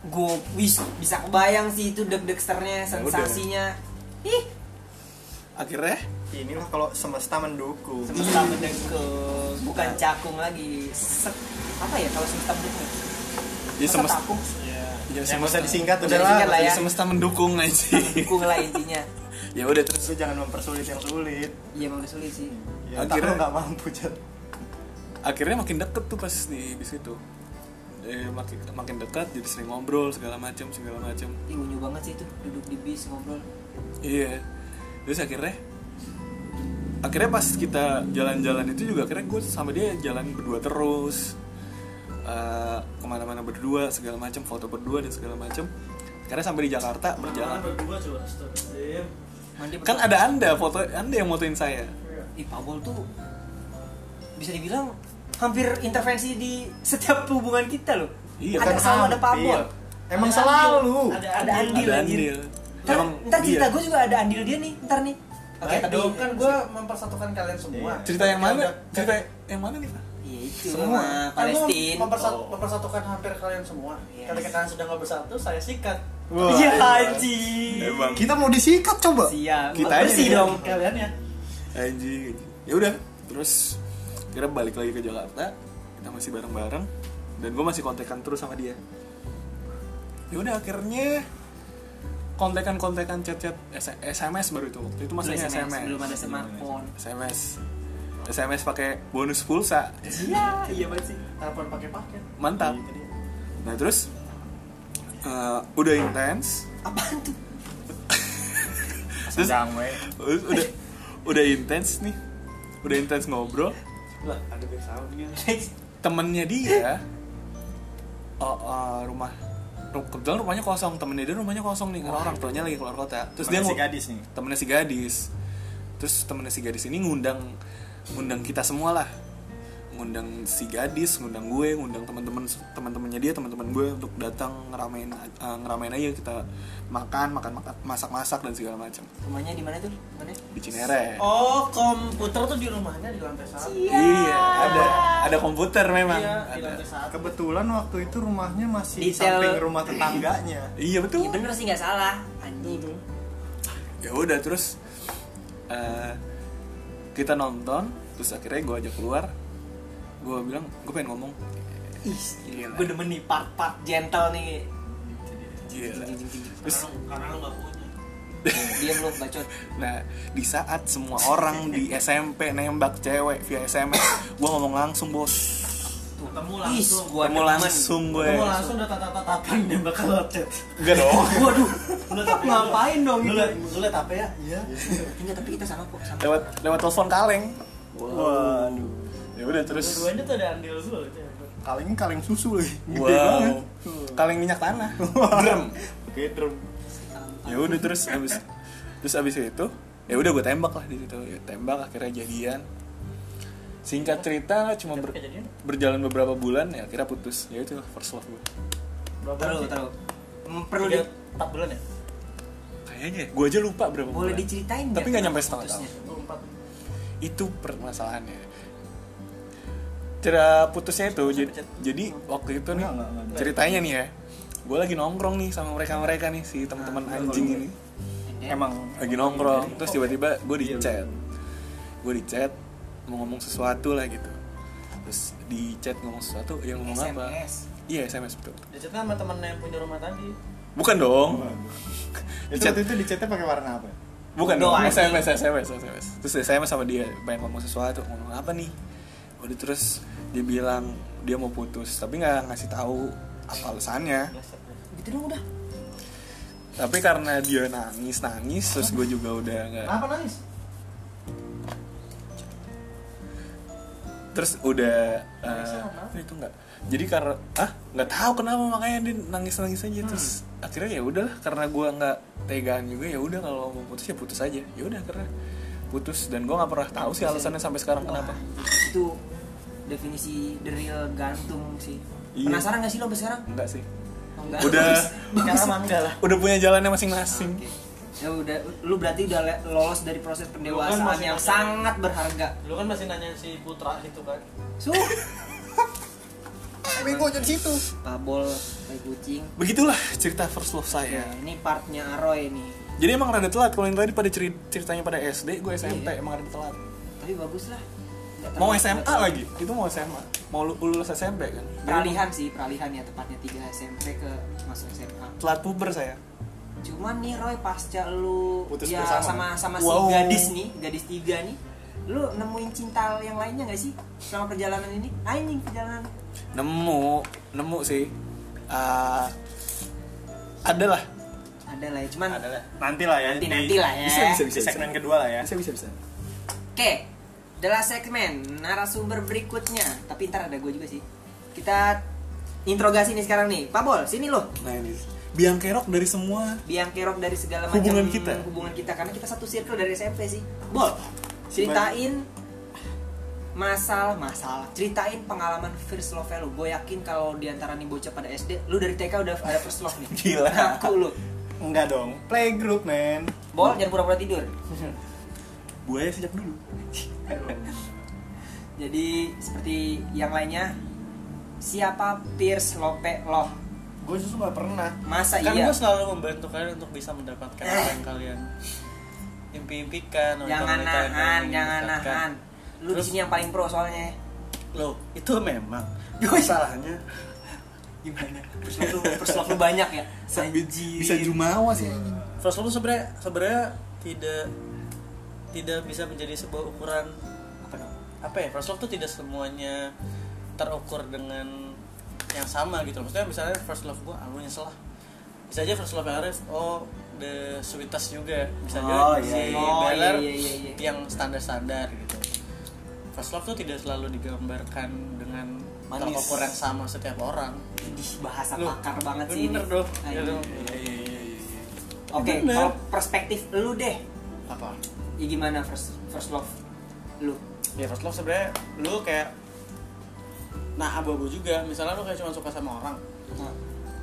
[SPEAKER 1] gue wis bisa kebayang sih itu deg-degsternya
[SPEAKER 2] Ya udah.
[SPEAKER 1] sensasinya ih
[SPEAKER 2] akhirnya
[SPEAKER 3] Inilah kalau semesta mendukung.
[SPEAKER 1] semesta mendekung bukan cakung lagi Sek- apa ya kalau semesta mendekung
[SPEAKER 2] ya
[SPEAKER 1] Masa
[SPEAKER 2] semesta
[SPEAKER 1] takung?
[SPEAKER 2] ya
[SPEAKER 3] Yang bisa
[SPEAKER 2] semesta
[SPEAKER 3] disingkat
[SPEAKER 1] Bisa
[SPEAKER 3] udah
[SPEAKER 1] disingkat lah
[SPEAKER 3] lah.
[SPEAKER 1] ya.
[SPEAKER 2] ya semesta mendukung aja
[SPEAKER 1] mendukung lah intinya
[SPEAKER 2] ya udah terus
[SPEAKER 3] Terus lu jangan mempersulit yang sulit.
[SPEAKER 1] iya emang sulit sih
[SPEAKER 3] Ya,
[SPEAKER 2] Akhirnya-
[SPEAKER 3] Akhirnya nggak mampu Jan.
[SPEAKER 2] akhirnya makin deket tuh pas di bis itu eh, makin makin dekat jadi sering ngobrol segala macam segala macam
[SPEAKER 1] Ih, unyu banget sih itu duduk di bis ngobrol
[SPEAKER 2] Iya. Terus akhirnya akhirnya pas kita jalan-jalan itu juga akhirnya gue sama dia jalan berdua terus Eh, kemana-mana berdua segala macam foto berdua dan segala macam karena sampai di Jakarta
[SPEAKER 5] Berjalan
[SPEAKER 2] berjalan
[SPEAKER 5] berdua coba. Astagfirullahaladzim.
[SPEAKER 1] mandi
[SPEAKER 2] kan ada anda foto anda yang motoin saya
[SPEAKER 1] Ih, Pabol tuh bisa dibilang hampir intervensi di setiap hubungan kita loh.
[SPEAKER 2] Iya,
[SPEAKER 1] ada
[SPEAKER 3] Bukan
[SPEAKER 1] selalu ada
[SPEAKER 3] hampir.
[SPEAKER 1] Pabol.
[SPEAKER 3] Emang
[SPEAKER 5] Ada
[SPEAKER 3] selalu.
[SPEAKER 5] Andil. Ada
[SPEAKER 1] Ada
[SPEAKER 5] Andil.
[SPEAKER 1] Andil anjir.
[SPEAKER 2] ada andil iya.
[SPEAKER 1] Ntar, ntar cerita
[SPEAKER 2] dia.
[SPEAKER 1] gue juga ada andil dia nih, ntar nih. Oke,
[SPEAKER 6] Baik
[SPEAKER 1] tapi
[SPEAKER 6] dong, kan gue mempersatukan kalian semua.
[SPEAKER 3] Iya.
[SPEAKER 2] cerita
[SPEAKER 1] Ya
[SPEAKER 2] yang mana
[SPEAKER 6] Kayak udah-
[SPEAKER 2] cerita yang mana nih pak
[SPEAKER 1] Iya itu sama
[SPEAKER 3] Semua.
[SPEAKER 6] Kan gua
[SPEAKER 1] Palestina. Oh.
[SPEAKER 6] mempersat- mempersatukan hampir kalian semua.
[SPEAKER 1] Yes.
[SPEAKER 6] Ketika kalian sudah nggak bersatu, saya sikat.
[SPEAKER 3] Wah.
[SPEAKER 1] Iya anjir.
[SPEAKER 2] emang
[SPEAKER 3] Kita mau disikat coba.
[SPEAKER 1] Siap.
[SPEAKER 2] Kita aja
[SPEAKER 1] Iya, bersih
[SPEAKER 2] nih.
[SPEAKER 1] dong.
[SPEAKER 6] Kalian ya.
[SPEAKER 2] anjing ya udah terus kira balik lagi ke Jakarta kita masih bareng bareng dan gue masih kontekan terus sama dia ya udah akhirnya kontekan kontekan chat chat sms baru itu waktu itu
[SPEAKER 1] Belum
[SPEAKER 2] masanya
[SPEAKER 1] SMS,
[SPEAKER 2] sms
[SPEAKER 1] belum ada smartphone.
[SPEAKER 2] sms sms pakai bonus pulsa
[SPEAKER 1] Iya, iya banget sih.
[SPEAKER 6] Telepon pakai paket.
[SPEAKER 2] mantap nah terus eh, udah intens
[SPEAKER 1] Apaan tuh?
[SPEAKER 2] terus
[SPEAKER 3] Sedang we.
[SPEAKER 2] udah udah intens nih udah intens ngobrol
[SPEAKER 5] Lah, ada back soundnya.
[SPEAKER 2] temennya dia eh eh, rumah ru- kebetulan rumahnya kosong temennya dia rumahnya kosong nih karena orang tuanya lagi keluar kota terus dia
[SPEAKER 3] si
[SPEAKER 2] ngu-
[SPEAKER 3] gadis nih.
[SPEAKER 2] temennya si gadis terus temennya si gadis ini ngundang ngundang kita semua lah ngundang si gadis ngundang gue ngundang teman-teman teman-temannya dia teman-teman gue untuk datang ngeramein eh, ngeramein aja kita makan makan makan masak masak dan segala macam
[SPEAKER 1] Rumahnya di mana tuh? Mana?
[SPEAKER 2] di Cinere
[SPEAKER 5] Oh, komputer tuh di rumah.
[SPEAKER 6] Rumahnya di lantai satu.
[SPEAKER 2] iya ada ada komputer memang
[SPEAKER 5] Iya, di
[SPEAKER 2] ada.
[SPEAKER 5] lantai satu.
[SPEAKER 3] Kebetulan waktu itu rumahnya masih di
[SPEAKER 1] Detail.
[SPEAKER 3] samping rumah tetangganya.
[SPEAKER 2] iya betul
[SPEAKER 1] Iya bener sih nggak salah. Anjing.
[SPEAKER 2] ya udah terus eh, kita nonton terus akhirnya gue ajak keluar gue bilang gue pengen ngomong
[SPEAKER 1] Ih,
[SPEAKER 2] Gila.
[SPEAKER 1] gue demen nih part-part gentle nih.
[SPEAKER 2] Gila.
[SPEAKER 1] Jing, jing, jing, jing.
[SPEAKER 2] terus
[SPEAKER 5] Karena lu nggak punya.
[SPEAKER 1] Diam lu bacot.
[SPEAKER 2] nah di saat semua orang di SMP nembak cewek via SMS gue ngomong langsung bos
[SPEAKER 5] Ketemu
[SPEAKER 1] Is,
[SPEAKER 5] langsung.
[SPEAKER 1] gua
[SPEAKER 2] Ketemu
[SPEAKER 1] demen.
[SPEAKER 2] langsung gue
[SPEAKER 5] Ketemu langsung udah tatap-tatapan dia bakal chat.
[SPEAKER 2] enggak dong
[SPEAKER 1] Waduh,
[SPEAKER 5] Lu
[SPEAKER 1] tetap ngapain dong
[SPEAKER 5] Lu
[SPEAKER 1] ini?
[SPEAKER 5] liat- lu liat apa ya?
[SPEAKER 3] Iya.
[SPEAKER 1] Enggak, tapi kita sama kok, sama.
[SPEAKER 2] lewat lewat telepon kaleng
[SPEAKER 3] Waduh.
[SPEAKER 2] ya udah terus
[SPEAKER 5] Dua-duanya tuh ada andil gitu ya. gue.
[SPEAKER 3] Kalengnya kaleng susu lagi. Gede banget.
[SPEAKER 2] wow kaleng minyak tanah Brem.
[SPEAKER 3] Oke, drum.
[SPEAKER 2] ya udah terus abis terus abis itu ya udah gue tembak lah di situ Ya, tembak akhirnya jadian singkat cerita cuma ber-
[SPEAKER 5] Kejadian?
[SPEAKER 2] berjalan beberapa bulan ya akhirnya putus ya itu first love gue
[SPEAKER 5] Berapa
[SPEAKER 1] Taruh,
[SPEAKER 5] sih?
[SPEAKER 1] taruh. Hmm, Perlu di,
[SPEAKER 5] Tiga, empat bulan ya?
[SPEAKER 2] kayaknya gue aja lupa berapa
[SPEAKER 1] boleh
[SPEAKER 2] bulan.
[SPEAKER 1] diceritain
[SPEAKER 2] Tapi nggak nyampe setengah
[SPEAKER 1] putusnya?
[SPEAKER 5] Oh, Empat.
[SPEAKER 2] itu permasalahannya cara putusnya itu jadi, jadi waktu itu nih
[SPEAKER 3] Enggak, enggak, enggak.
[SPEAKER 2] ceritanya nih ya gue lagi nongkrong nih sama mereka mereka nih si teman-teman anjing ini
[SPEAKER 1] gitu.
[SPEAKER 3] Emang
[SPEAKER 2] lagi nongkrong terus tiba-tiba gue di chat gue di chat mau ngomong sesuatu lah gitu terus di chat ngomong sesuatu yang ngomong apa
[SPEAKER 1] SMS.
[SPEAKER 2] iya sms betul
[SPEAKER 5] Dia chat sama temen yang punya rumah tadi.
[SPEAKER 2] bukan dong
[SPEAKER 3] itu
[SPEAKER 2] Dicat.
[SPEAKER 3] waktu itu dicatnya pakai warna apa?
[SPEAKER 2] bukan
[SPEAKER 1] Bodoh,
[SPEAKER 2] dong
[SPEAKER 1] anjing.
[SPEAKER 2] sms sms sms terus sms sama dia pengen ngomong sesuatu ngomong apa nih udah terus dia bilang dia mau putus tapi nggak ngasih tahu apa alasannya
[SPEAKER 1] Gitu dong udah.
[SPEAKER 2] tapi karena dia nangis nangis terus gue juga udah nggak
[SPEAKER 6] Kenapa nangis?
[SPEAKER 2] terus udah eh, itu enggak jadi karena ah nggak tahu kenapa makanya dia nangis nangis aja terus akhirnya ya udahlah karena gua nggak tegaan juga ya udah kalau mau putus ya putus aja ya udah karena putus dan gue nggak pernah tahu
[SPEAKER 1] ya?
[SPEAKER 2] sih alasannya sampai sekarang kenapa
[SPEAKER 1] itu definisi the real gantung sih
[SPEAKER 2] Iya.
[SPEAKER 1] penasaran gak sih lo sampai sekarang
[SPEAKER 2] enggak sih
[SPEAKER 1] Oh, enggak.
[SPEAKER 2] Udah.
[SPEAKER 1] sekarang mah enggak lah
[SPEAKER 2] udah punya jalannya masing-masing
[SPEAKER 1] Oke. ya udah lu berarti udah le- lolos dari proses
[SPEAKER 2] kan
[SPEAKER 1] pendewasaan
[SPEAKER 5] masih-
[SPEAKER 1] yang sangat berharga
[SPEAKER 5] Lu kan masih nanya si Putra itu kan.
[SPEAKER 1] su
[SPEAKER 3] Bego jadi situ.
[SPEAKER 1] pabol kayak kucing
[SPEAKER 2] begitulah cerita first love saya
[SPEAKER 1] ya ini partnya Aroy nih
[SPEAKER 2] jadi emang rada telat kalau yang tadi pada ceri- ceritanya pada SD gue SMP
[SPEAKER 1] Iya.
[SPEAKER 2] emang rada telat
[SPEAKER 1] tapi bagus lah Nggak
[SPEAKER 2] mau
[SPEAKER 1] terlalu-
[SPEAKER 2] SMA lagi itu mau SMA mau lu- lulus SMP kan
[SPEAKER 1] peralihan sih peralihan ya tepatnya 3 SMP ke masuk SMA
[SPEAKER 2] telat puber saya
[SPEAKER 1] cuman nih Roy pasca lu
[SPEAKER 3] Putus
[SPEAKER 1] ya
[SPEAKER 3] bersama.
[SPEAKER 1] sama sama
[SPEAKER 2] Wow.
[SPEAKER 1] si gadis nih gadis tiga nih lu nemuin cinta yang lainnya gak sih selama perjalanan ini anjing perjalanan
[SPEAKER 2] nemu nemu sih Eh, ada lah
[SPEAKER 1] ada lah ya cuman
[SPEAKER 3] Adalah.
[SPEAKER 4] Nanti lah ya.
[SPEAKER 1] nanti
[SPEAKER 4] di-
[SPEAKER 1] nanti lah ya
[SPEAKER 3] Bisa bisa bisa.
[SPEAKER 4] Di segmen kedua lah ya.
[SPEAKER 3] Bisa bisa bisa.
[SPEAKER 1] oke adalah segmen narasumber berikutnya tapi ntar ada gue juga sih kita interogasi nih sekarang nih Pak Bol sini loh
[SPEAKER 2] nah ini biang kerok dari semua
[SPEAKER 1] biang kerok dari segala macam
[SPEAKER 2] Hubungan kita.
[SPEAKER 1] hubungan kita karena kita satu circle dari SMP sih bol ceritain masalah masalah ceritain pengalaman first love lu gue yakin kalau diantara nih bocah pada SD lu dari TK udah ada first love nih Nah,
[SPEAKER 2] Gila.
[SPEAKER 1] aku lu
[SPEAKER 3] Enggak dong. Playgroup men.
[SPEAKER 1] bol jangan pura-pura tidur
[SPEAKER 2] gue sejak dulu
[SPEAKER 1] jadi seperti yang lainnya siapa Pierce Lope Loh
[SPEAKER 3] Gue justru nggak pernah.
[SPEAKER 1] masa
[SPEAKER 5] Kan
[SPEAKER 1] iya Eh.
[SPEAKER 5] gua selalu membantu kalian untuk bisa mendapatkan apa yang kalian impi-impikan.
[SPEAKER 1] jangan
[SPEAKER 5] wanita-wanita yang
[SPEAKER 1] nahan
[SPEAKER 5] ingin
[SPEAKER 1] jangan
[SPEAKER 5] didekatkan.
[SPEAKER 1] nahan lu di
[SPEAKER 5] kan. Terus-
[SPEAKER 1] sini yang paling pro soalnya
[SPEAKER 5] Loh, itu memang. Gue salahnya.
[SPEAKER 1] gimana first love lu, first love lu banyak ya Anjing.
[SPEAKER 2] bisa jumawa sih
[SPEAKER 5] First love sebenarnya sebenarnya tidak tidak bisa menjadi sebuah ukuran apa dong? Apa ya? First love tuh tidak semuanya terukur dengan yang sama gitu. Maksudnya misalnya first love gua aku nyesel lah. Bisa aja first love yang Arif, oh the sweetest juga. Bisa aja
[SPEAKER 1] Oh,
[SPEAKER 5] si
[SPEAKER 1] iya, iya. Oh, iya,
[SPEAKER 5] Beller
[SPEAKER 1] iya, iya, iya.
[SPEAKER 5] yang standar-standar gitu. First love tuh tidak selalu digambarkan dengan
[SPEAKER 1] Manis.
[SPEAKER 5] terukur yang sama setiap orang.
[SPEAKER 1] Ih, bahasa
[SPEAKER 5] Loh,
[SPEAKER 1] pakar banget sih ini. Ah, iya,
[SPEAKER 5] Bener dong. Ya
[SPEAKER 1] Anjing.
[SPEAKER 5] dong.
[SPEAKER 1] iya. Oke,
[SPEAKER 5] Bener.
[SPEAKER 1] kalau perspektif lu deh,
[SPEAKER 5] Apa?
[SPEAKER 1] ya gimana first first love lu?
[SPEAKER 5] ya first love sebenarnya lu kayak nah abu-abu juga misalnya lu kayak cuma suka sama orang
[SPEAKER 1] Nah,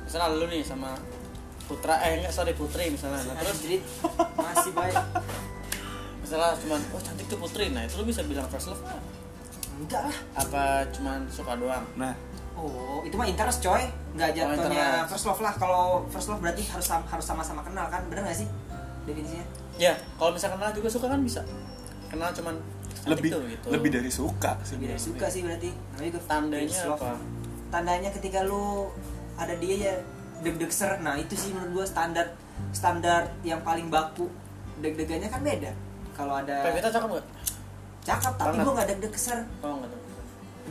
[SPEAKER 5] misalnya lu nih sama putra eh enggak sorry putri misalnya nah, terus
[SPEAKER 1] Anjrit, masih baik.
[SPEAKER 5] misalnya cuman oh cantik tuh putri nah itu lu bisa bilang first love nggak?
[SPEAKER 1] Enggak lah.
[SPEAKER 5] apa cuman suka doang
[SPEAKER 2] nah
[SPEAKER 1] Oh, itu mah interest coy. Enggak jatuhnya
[SPEAKER 5] Oh, interest.
[SPEAKER 1] first love lah. Kalau first love berarti harus sam- harus sama-sama kenal kan? Bener gak sih definisinya?
[SPEAKER 5] ya kalau misalnya kenal juga suka kan bisa kenal cuman cantik
[SPEAKER 2] lebih
[SPEAKER 5] tuh, gitu.
[SPEAKER 2] lebih dari suka sih
[SPEAKER 1] Lebih dari suka sih berarti. Namanya itu
[SPEAKER 5] Iya, Tandanya
[SPEAKER 1] first love.
[SPEAKER 5] apa?
[SPEAKER 1] Tandanya ketika lu ada dia ya deg-deg ser. Nah, itu sih menurut gua standar standar yang paling baku. Deg-degannya kan beda. Kalau ada
[SPEAKER 5] Pevita cakep nggak
[SPEAKER 1] cakep tapi
[SPEAKER 5] Banget.
[SPEAKER 1] gue nggak deg-deg ser
[SPEAKER 5] oh nggak tuh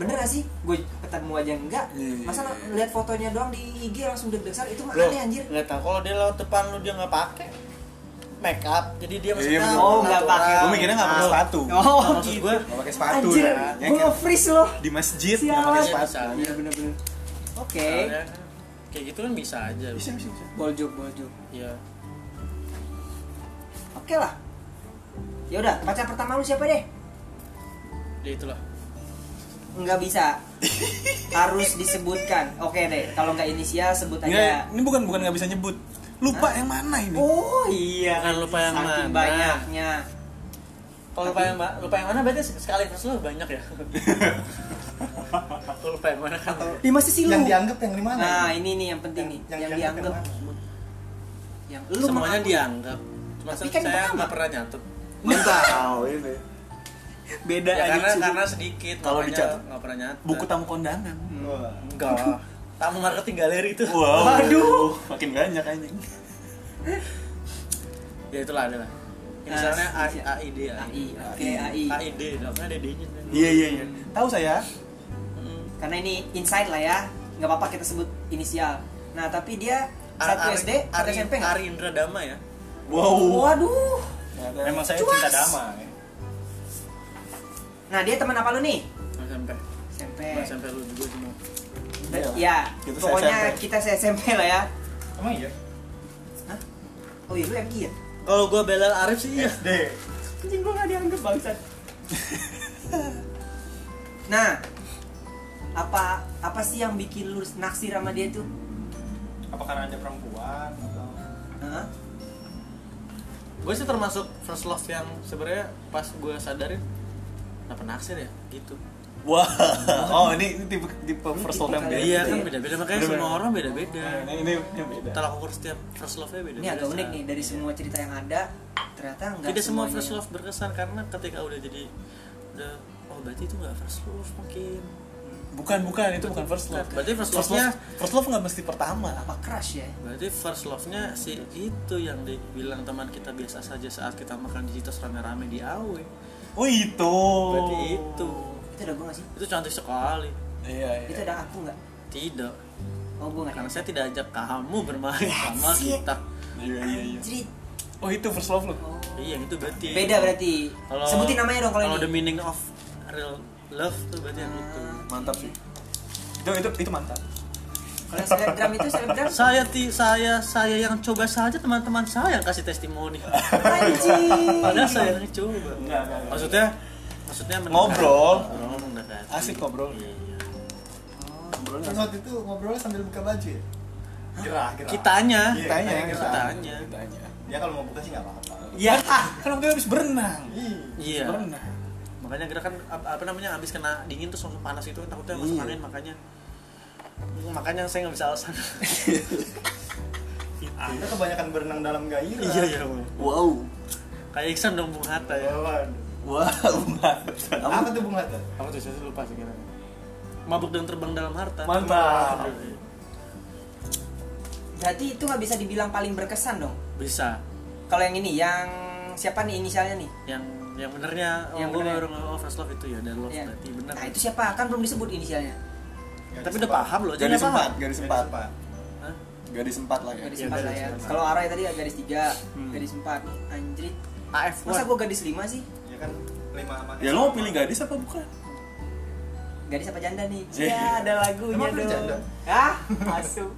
[SPEAKER 1] bener gak sih gue ketemu aja enggak
[SPEAKER 2] Iya.
[SPEAKER 1] masa lihat fotonya doang di IG langsung deg-deg ser itu mah
[SPEAKER 5] Loh,
[SPEAKER 1] aneh anjir
[SPEAKER 5] nggak tahu kalau dia lewat depan lu dia nggak pakai make up jadi dia maksudnya
[SPEAKER 2] betul.
[SPEAKER 1] Oh, nggak
[SPEAKER 5] natural.
[SPEAKER 1] pakai.
[SPEAKER 2] gue Iya, mikirnya nggak pakai
[SPEAKER 5] Nah,
[SPEAKER 2] sepatu
[SPEAKER 1] oh
[SPEAKER 5] Nah, maksud gue
[SPEAKER 3] Gak pakai sepatu
[SPEAKER 1] anjir
[SPEAKER 3] ya. Ya,
[SPEAKER 1] gue freeze loh
[SPEAKER 2] di masjid
[SPEAKER 1] Sialan.
[SPEAKER 2] nggak pakai
[SPEAKER 5] Iya,
[SPEAKER 2] sepatu
[SPEAKER 5] bisa aja.
[SPEAKER 1] bener-bener oke
[SPEAKER 5] Soalnya kan, kayak gitu kan bisa aja
[SPEAKER 3] Bisa bisa bisa.
[SPEAKER 1] boljuk boljuk
[SPEAKER 5] ya
[SPEAKER 1] oke lah ya udah pacar pertama lu siapa deh
[SPEAKER 5] ya itulah
[SPEAKER 1] nggak bisa harus disebutkan oke deh kalau nggak inisial sebut
[SPEAKER 5] Iya.
[SPEAKER 2] Nggak,
[SPEAKER 1] aja
[SPEAKER 2] Iya, ini bukan bukan nggak bisa nyebut lupa yang mana ini
[SPEAKER 1] oh iya
[SPEAKER 5] Jangan lupa yang
[SPEAKER 1] saking
[SPEAKER 5] mana.
[SPEAKER 1] banyaknya
[SPEAKER 5] kalau lupa yang ma- lupa yang mana berarti sekali terus lu banyak ya Kalau lupa yang mana kan
[SPEAKER 1] Ih, masih sih lu
[SPEAKER 3] Yang dianggap yang dimana?
[SPEAKER 1] Nah, ini nih yang penting nih, yang, dianggap. Yang lu
[SPEAKER 5] semuanya
[SPEAKER 1] mengaku-
[SPEAKER 5] dianggap cuma
[SPEAKER 1] Tapi
[SPEAKER 5] se-
[SPEAKER 1] kan
[SPEAKER 5] saya
[SPEAKER 1] pertama.
[SPEAKER 5] nggak pernah nyantet
[SPEAKER 3] Mantap ini.
[SPEAKER 1] beda
[SPEAKER 5] ya,
[SPEAKER 1] aja
[SPEAKER 5] karena
[SPEAKER 1] sudut.
[SPEAKER 5] karena sedikit
[SPEAKER 2] Kalau
[SPEAKER 5] makanya
[SPEAKER 2] dicatat.
[SPEAKER 5] nggak pernah nyantet
[SPEAKER 2] buku tamu kondangan
[SPEAKER 3] Wah.
[SPEAKER 5] enggak lah. tamu marketing galeri itu
[SPEAKER 2] waduh makin banyak anjing
[SPEAKER 5] ya itulah adalah Ya,
[SPEAKER 1] Nah,
[SPEAKER 5] misalnya A-
[SPEAKER 1] iya.
[SPEAKER 5] AID
[SPEAKER 1] AI, oke AI.
[SPEAKER 5] AID dong ada D-nya Hmm.
[SPEAKER 2] iya iya iya tahu saya
[SPEAKER 1] Karena ini inside lah ya, nggak apa-apa kita sebut inisial. Nah, tapi dia satu SD, satu SMP nggak? Oh,
[SPEAKER 5] Ari Indra Dama ya
[SPEAKER 2] wow
[SPEAKER 1] Waduh.
[SPEAKER 3] Emang saya
[SPEAKER 1] Cuas.
[SPEAKER 3] cinta damai.
[SPEAKER 1] Nah, dia teman apa lu nih?
[SPEAKER 5] SMP
[SPEAKER 1] SMP.
[SPEAKER 5] SMP lu juga semua
[SPEAKER 1] Ya,
[SPEAKER 2] Kita
[SPEAKER 1] pokoknya
[SPEAKER 2] se-SMP.
[SPEAKER 1] kita se SMP lah ya.
[SPEAKER 3] Emang iya?
[SPEAKER 1] Hah? Oh iya, lu yang iya.
[SPEAKER 5] Kalau gue Belal Arif sih iya.
[SPEAKER 3] SD.
[SPEAKER 1] Anjing gue gak dianggap bangsat. nah, apa apa sih yang bikin lu naksir sama dia tuh?
[SPEAKER 3] apa karena ada perempuan atau
[SPEAKER 1] Hah?
[SPEAKER 5] gue sih termasuk first love yang sebenarnya pas gue sadarin kenapa naksir ya gitu
[SPEAKER 2] Wah, oh ini, ini tipe tipe first
[SPEAKER 1] Ya,
[SPEAKER 2] love yang beda. ya?
[SPEAKER 5] iya kan beda beda makanya semua orang beda beda
[SPEAKER 2] Ini, ini yang beda.
[SPEAKER 5] tolak ukur setiap first love nya beda
[SPEAKER 1] Nah, Ini agak unik nih dari semua cerita yang ada ternyata nggak
[SPEAKER 5] tidak semua
[SPEAKER 1] semuanya-
[SPEAKER 5] first love berkesan karena ketika udah jadi udah oh berarti itu nggak first love mungkin
[SPEAKER 2] Bukan, bukan itu bukan first love.
[SPEAKER 5] Berarti first
[SPEAKER 2] First
[SPEAKER 5] love-nya-
[SPEAKER 2] love- first love nggak mesti pertama.
[SPEAKER 1] apa crush ya?
[SPEAKER 5] berarti first love nya si itu yang dibilang teman kita biasa saja saat kita makan di situs rame rame di awe
[SPEAKER 2] Oh itu.
[SPEAKER 1] Oh.
[SPEAKER 5] berarti itu
[SPEAKER 1] Itu ada gue gak sih?
[SPEAKER 5] itu cantik sekali
[SPEAKER 2] Iya
[SPEAKER 1] Itu
[SPEAKER 2] iya.
[SPEAKER 1] ada aku nggak?
[SPEAKER 5] tidak
[SPEAKER 1] Oh gue nggak.
[SPEAKER 5] karena saya tidak ajak kamu bermain sama kita
[SPEAKER 2] Iya iya iya.
[SPEAKER 1] Cerit.
[SPEAKER 2] Oh itu first love lo.
[SPEAKER 1] Oh.
[SPEAKER 5] iya itu berarti
[SPEAKER 1] Beda berarti.
[SPEAKER 5] Kalau-
[SPEAKER 1] Sebutin namanya dong kalau
[SPEAKER 5] kalau the
[SPEAKER 1] ini. Ah,
[SPEAKER 5] meaning of real love tuh berarti yang itu
[SPEAKER 2] Mantap sih. Itu itu itu mantap.
[SPEAKER 1] Kalau yang selebgram itu selebgram
[SPEAKER 5] saya ti saya saya yang coba saja teman-teman saya yang kasih testimoni
[SPEAKER 1] anjing.
[SPEAKER 5] padahal saya yang coba maksudnya maksudnya Oh, mendekati.
[SPEAKER 2] Ngobrol.
[SPEAKER 5] Ngobrol, mendekati.
[SPEAKER 2] Asik ngobrol.
[SPEAKER 5] Iya, iya.
[SPEAKER 3] Terus waktu itu ngobrolnya sambil buka baju ya gerah gerah
[SPEAKER 5] kitanya
[SPEAKER 3] Iya,
[SPEAKER 2] Tanya
[SPEAKER 3] tanya,
[SPEAKER 5] kitanya
[SPEAKER 2] Tanya.
[SPEAKER 3] dia kalau mau buka sih nggak apa-apa
[SPEAKER 2] Iya. Kan waktu itu habis berenang.
[SPEAKER 5] iya
[SPEAKER 2] Berenang.
[SPEAKER 5] makanya kita kan ap- apa namanya habis kena dingin terus langsung panas itu takutnya masuk
[SPEAKER 2] Iya.
[SPEAKER 5] angin makanya makanya saya nggak bisa alasan
[SPEAKER 3] anda kebanyakan berenang dalam gairah
[SPEAKER 5] iya iya Bu.
[SPEAKER 2] Wow.
[SPEAKER 5] kayak Iksan dong Bung Hatta ya
[SPEAKER 3] Waduh.
[SPEAKER 2] Wow. mantap.
[SPEAKER 3] apa tuh bung Hatta
[SPEAKER 5] apa tuh saya lupa sih kira mabuk dan terbang dalam harta iya.
[SPEAKER 2] Mantap.
[SPEAKER 1] Berarti itu nggak bisa dibilang paling berkesan dong.
[SPEAKER 5] bisa
[SPEAKER 1] Kalau yang ini yang siapa nih inisialnya nih?
[SPEAKER 5] yang yang benernya
[SPEAKER 1] Yang
[SPEAKER 5] yang gue
[SPEAKER 1] benernya.
[SPEAKER 5] baru ngomong oh, first love itu ya dan love
[SPEAKER 1] Ya.
[SPEAKER 5] berarti bener
[SPEAKER 1] Nah itu siapa? Kan belum disebut inisialnya.
[SPEAKER 5] tapi udah paham loh
[SPEAKER 2] Gak
[SPEAKER 5] jadi
[SPEAKER 2] disempat,
[SPEAKER 5] paham
[SPEAKER 2] gak disempat.
[SPEAKER 3] sempat pak
[SPEAKER 5] Hah?
[SPEAKER 2] Gak disempat lah ya.
[SPEAKER 1] Garis empat lah
[SPEAKER 5] garis
[SPEAKER 1] ya.
[SPEAKER 5] empat.
[SPEAKER 1] Kalau Arai tadi garis tiga, garis empat nih. Anjrit.
[SPEAKER 5] AF
[SPEAKER 1] Masa
[SPEAKER 5] word.
[SPEAKER 1] gue gadis lima sih?
[SPEAKER 3] ya kan lima amat
[SPEAKER 2] Ya lo mau pilih gadis apa bukan?
[SPEAKER 1] Gadis apa janda nih?
[SPEAKER 2] Iya.
[SPEAKER 1] Ya ada lagunya
[SPEAKER 3] Emang ada
[SPEAKER 1] dong.
[SPEAKER 3] janda?
[SPEAKER 1] Hah? Masuk.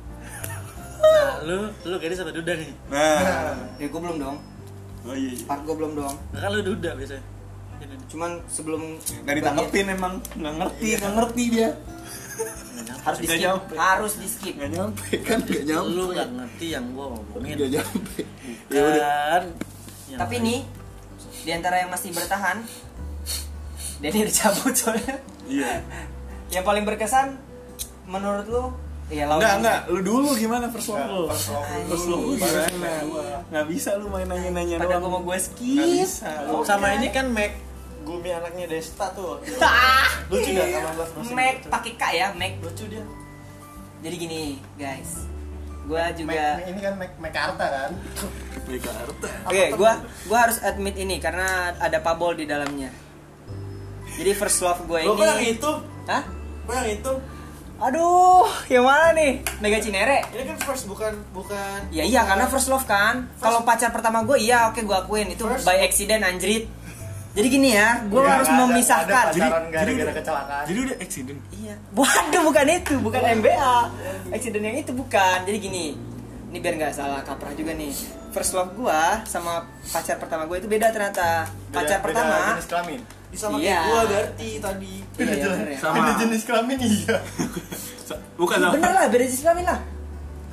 [SPEAKER 5] nah, lu lu gadis apa duda nih
[SPEAKER 2] Nah.
[SPEAKER 1] Ya gue belum dong.
[SPEAKER 2] Oh iya. iya.
[SPEAKER 1] Part gue belum dong.
[SPEAKER 5] Nah, kan lu duda biasanya Ini nih.
[SPEAKER 1] Cuman sebelum
[SPEAKER 2] Gak ditanggepin emang, nggak ngerti, nggak ngerti dia.
[SPEAKER 1] harus di
[SPEAKER 2] Nggak
[SPEAKER 1] skip.
[SPEAKER 2] nyampe.
[SPEAKER 1] Harus di skip.
[SPEAKER 2] Gak nyampe kan, gak
[SPEAKER 5] lu nggak ngerti yang gue omongin
[SPEAKER 2] Gak nyampe. Ya udah.
[SPEAKER 5] kan yang
[SPEAKER 1] Tapi
[SPEAKER 5] lain.
[SPEAKER 1] nih di antara yang masih bertahan, Denny udah cabut soalnya.
[SPEAKER 2] Iya.
[SPEAKER 1] Yang paling berkesan menurut lu? Ya lawan
[SPEAKER 2] Enggak,
[SPEAKER 1] yang-
[SPEAKER 2] enggak. Lu dulu gimana first love lu?
[SPEAKER 3] First love dulu.
[SPEAKER 2] First love lu
[SPEAKER 1] Baru
[SPEAKER 2] gimana? Gak bisa lu main nanya-nanya
[SPEAKER 1] Pada
[SPEAKER 2] doang.
[SPEAKER 1] gua mau gue
[SPEAKER 2] Nggak
[SPEAKER 1] skip.
[SPEAKER 2] bisa.
[SPEAKER 5] Oh, sama ini kan Mac
[SPEAKER 6] Gumi anaknya Desta tuh.
[SPEAKER 1] Lucu
[SPEAKER 6] nggak 18 masih
[SPEAKER 1] Ah. Mac
[SPEAKER 6] lucu?
[SPEAKER 1] pakai K ya, Mac.
[SPEAKER 6] Lucu dia.
[SPEAKER 1] Jadi gini, guys. Gua
[SPEAKER 3] Mac-
[SPEAKER 1] juga
[SPEAKER 3] ini kan Mac- Mekarta kan
[SPEAKER 2] Mereka harta.
[SPEAKER 1] Oke, gua gua harus admit ini karena ada pabol di dalamnya. Jadi first love gue
[SPEAKER 6] Lo yang
[SPEAKER 1] ini.
[SPEAKER 6] hitung,
[SPEAKER 1] Hah?
[SPEAKER 6] lo yang hitung.
[SPEAKER 1] Aduh, yang mana nih? Mega Cinere.
[SPEAKER 6] Ini kan first bukan bukan.
[SPEAKER 1] Ya iya karena first love kan. Kalau pacar pertama gue iya oke gue akuin itu
[SPEAKER 6] First- Iya,
[SPEAKER 1] by accident anjrit. Jadi gini ya, gue
[SPEAKER 3] Nggak
[SPEAKER 1] harus
[SPEAKER 3] ada-
[SPEAKER 1] memisahkan.
[SPEAKER 3] ada pacaran
[SPEAKER 2] Jadi-
[SPEAKER 3] gara-gara
[SPEAKER 2] jadi-
[SPEAKER 3] kecelakaan
[SPEAKER 2] Jadi udah accident.
[SPEAKER 1] Iya. Waduh bukan itu, bukan MBA. Accident yang itu bukan. Jadi gini, ini biar nggak salah kaprah juga nih. First love gue sama pacar pertama gue itu beda ternyata. Pacar
[SPEAKER 3] Beda-
[SPEAKER 1] pertama.
[SPEAKER 3] beda jenis kelamin
[SPEAKER 6] Bisa sama
[SPEAKER 1] Iya.
[SPEAKER 6] kayak gua berarti tadi.
[SPEAKER 1] Iya, bener ya.
[SPEAKER 2] Sama.
[SPEAKER 3] Beda jenis kelamin iya
[SPEAKER 2] Sa- Bukan sama.
[SPEAKER 1] Bener lah, beda jenis kelamin lah.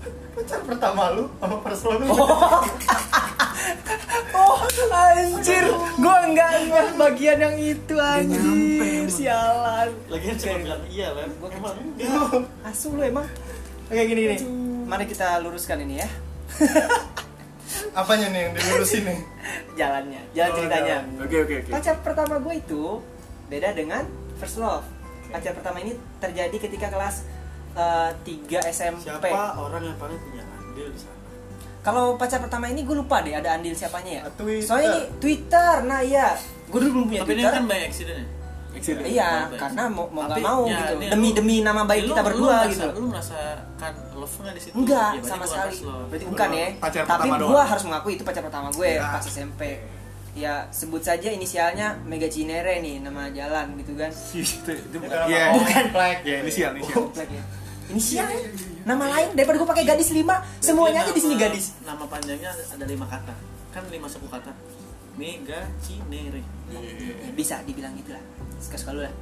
[SPEAKER 3] pacar pertama lu sama first love lu
[SPEAKER 1] Oh, anjir. Gua enggak enggak bagian yang itu anjir. Sialan.
[SPEAKER 6] Lagian cuma bilang iya kan. Gua emang enggak.
[SPEAKER 1] Asu lu emang. Oke gini gini. Mari kita luruskan ini ya.
[SPEAKER 3] apanya nih yang dilurusin nih
[SPEAKER 1] Jalannya, jalan
[SPEAKER 3] Oh,
[SPEAKER 1] ceritanya.
[SPEAKER 3] jalan.
[SPEAKER 2] Oke oke oke.
[SPEAKER 1] Pacar pertama gue itu beda dengan first love. Pacar pertama ini terjadi ketika kelas eh, 3 SMP.
[SPEAKER 5] siapa orang yang paling punya andil di sana
[SPEAKER 1] Kalau pacar pertama ini gue lupa deh ada andil siapanya ya.
[SPEAKER 3] Ah, Twitter.
[SPEAKER 1] Soalnya ini Twitter. Nah, iya. Gue dulu belum punya
[SPEAKER 5] tapi ini
[SPEAKER 1] Twitter.
[SPEAKER 5] kan by accident ya
[SPEAKER 2] Accident.
[SPEAKER 1] Iya,
[SPEAKER 5] Baik.
[SPEAKER 1] karena mau mau nggak
[SPEAKER 5] Tapi,
[SPEAKER 1] mau
[SPEAKER 5] ya,
[SPEAKER 1] gitu.
[SPEAKER 5] ini
[SPEAKER 1] Demi
[SPEAKER 5] lu-
[SPEAKER 1] demi nama baik
[SPEAKER 5] Lu-
[SPEAKER 1] kita
[SPEAKER 5] lu
[SPEAKER 1] berdua
[SPEAKER 5] merasa-
[SPEAKER 1] gitu.
[SPEAKER 5] lu merasakan love nggak di situ
[SPEAKER 1] Enggak,
[SPEAKER 5] Ya, berarti
[SPEAKER 1] sama
[SPEAKER 5] bukan
[SPEAKER 1] sekali.
[SPEAKER 5] first love.
[SPEAKER 1] Berarti bukan ya.
[SPEAKER 2] Pacar
[SPEAKER 1] Tapi
[SPEAKER 2] pertama
[SPEAKER 1] gua
[SPEAKER 2] doang.
[SPEAKER 1] harus mengakui itu pacar pertama gue pas SMP. Ya, sebut saja inisialnya Mega Cinere nih nama jalan gitu kan.
[SPEAKER 2] Si itu itu
[SPEAKER 3] Ya, kalau
[SPEAKER 2] Iya.
[SPEAKER 3] nggak
[SPEAKER 1] Bukan.
[SPEAKER 3] komplek.
[SPEAKER 2] Ya ini sial, ini sial.
[SPEAKER 1] Komplek ya. Inisial ya? Nama lain daripada gue pakai gadis lima, semuanya aja di sini
[SPEAKER 5] Nama-
[SPEAKER 1] gadis.
[SPEAKER 5] nama panjangnya ada lima kata kan lima suku kata
[SPEAKER 4] Mega Cinere.
[SPEAKER 1] bisa dibilang gitulah suka-suka lu lah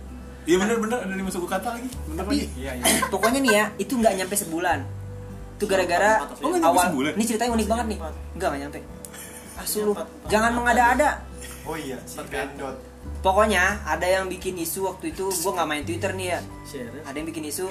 [SPEAKER 2] Iya bener-bener ada di masuk kata lagi. Bener lagi.
[SPEAKER 4] Iya iya.
[SPEAKER 1] pokoknya nih ya itu nggak nyampe sebulan
[SPEAKER 6] Iya,
[SPEAKER 1] itu gara-gara
[SPEAKER 2] Oh, nggak nyampe
[SPEAKER 1] awal
[SPEAKER 2] sebulan?
[SPEAKER 1] ini ceritanya unik banget nih
[SPEAKER 6] Empat. Iya,
[SPEAKER 1] nggak nggak nyampe asu lu
[SPEAKER 6] Empat, empat.
[SPEAKER 1] jangan mengada-ada
[SPEAKER 3] Oh iya, si Pendot.
[SPEAKER 1] pokoknya ada yang bikin isu waktu itu gua nggak main twitter nih ya
[SPEAKER 6] Share.
[SPEAKER 1] ada yang bikin isu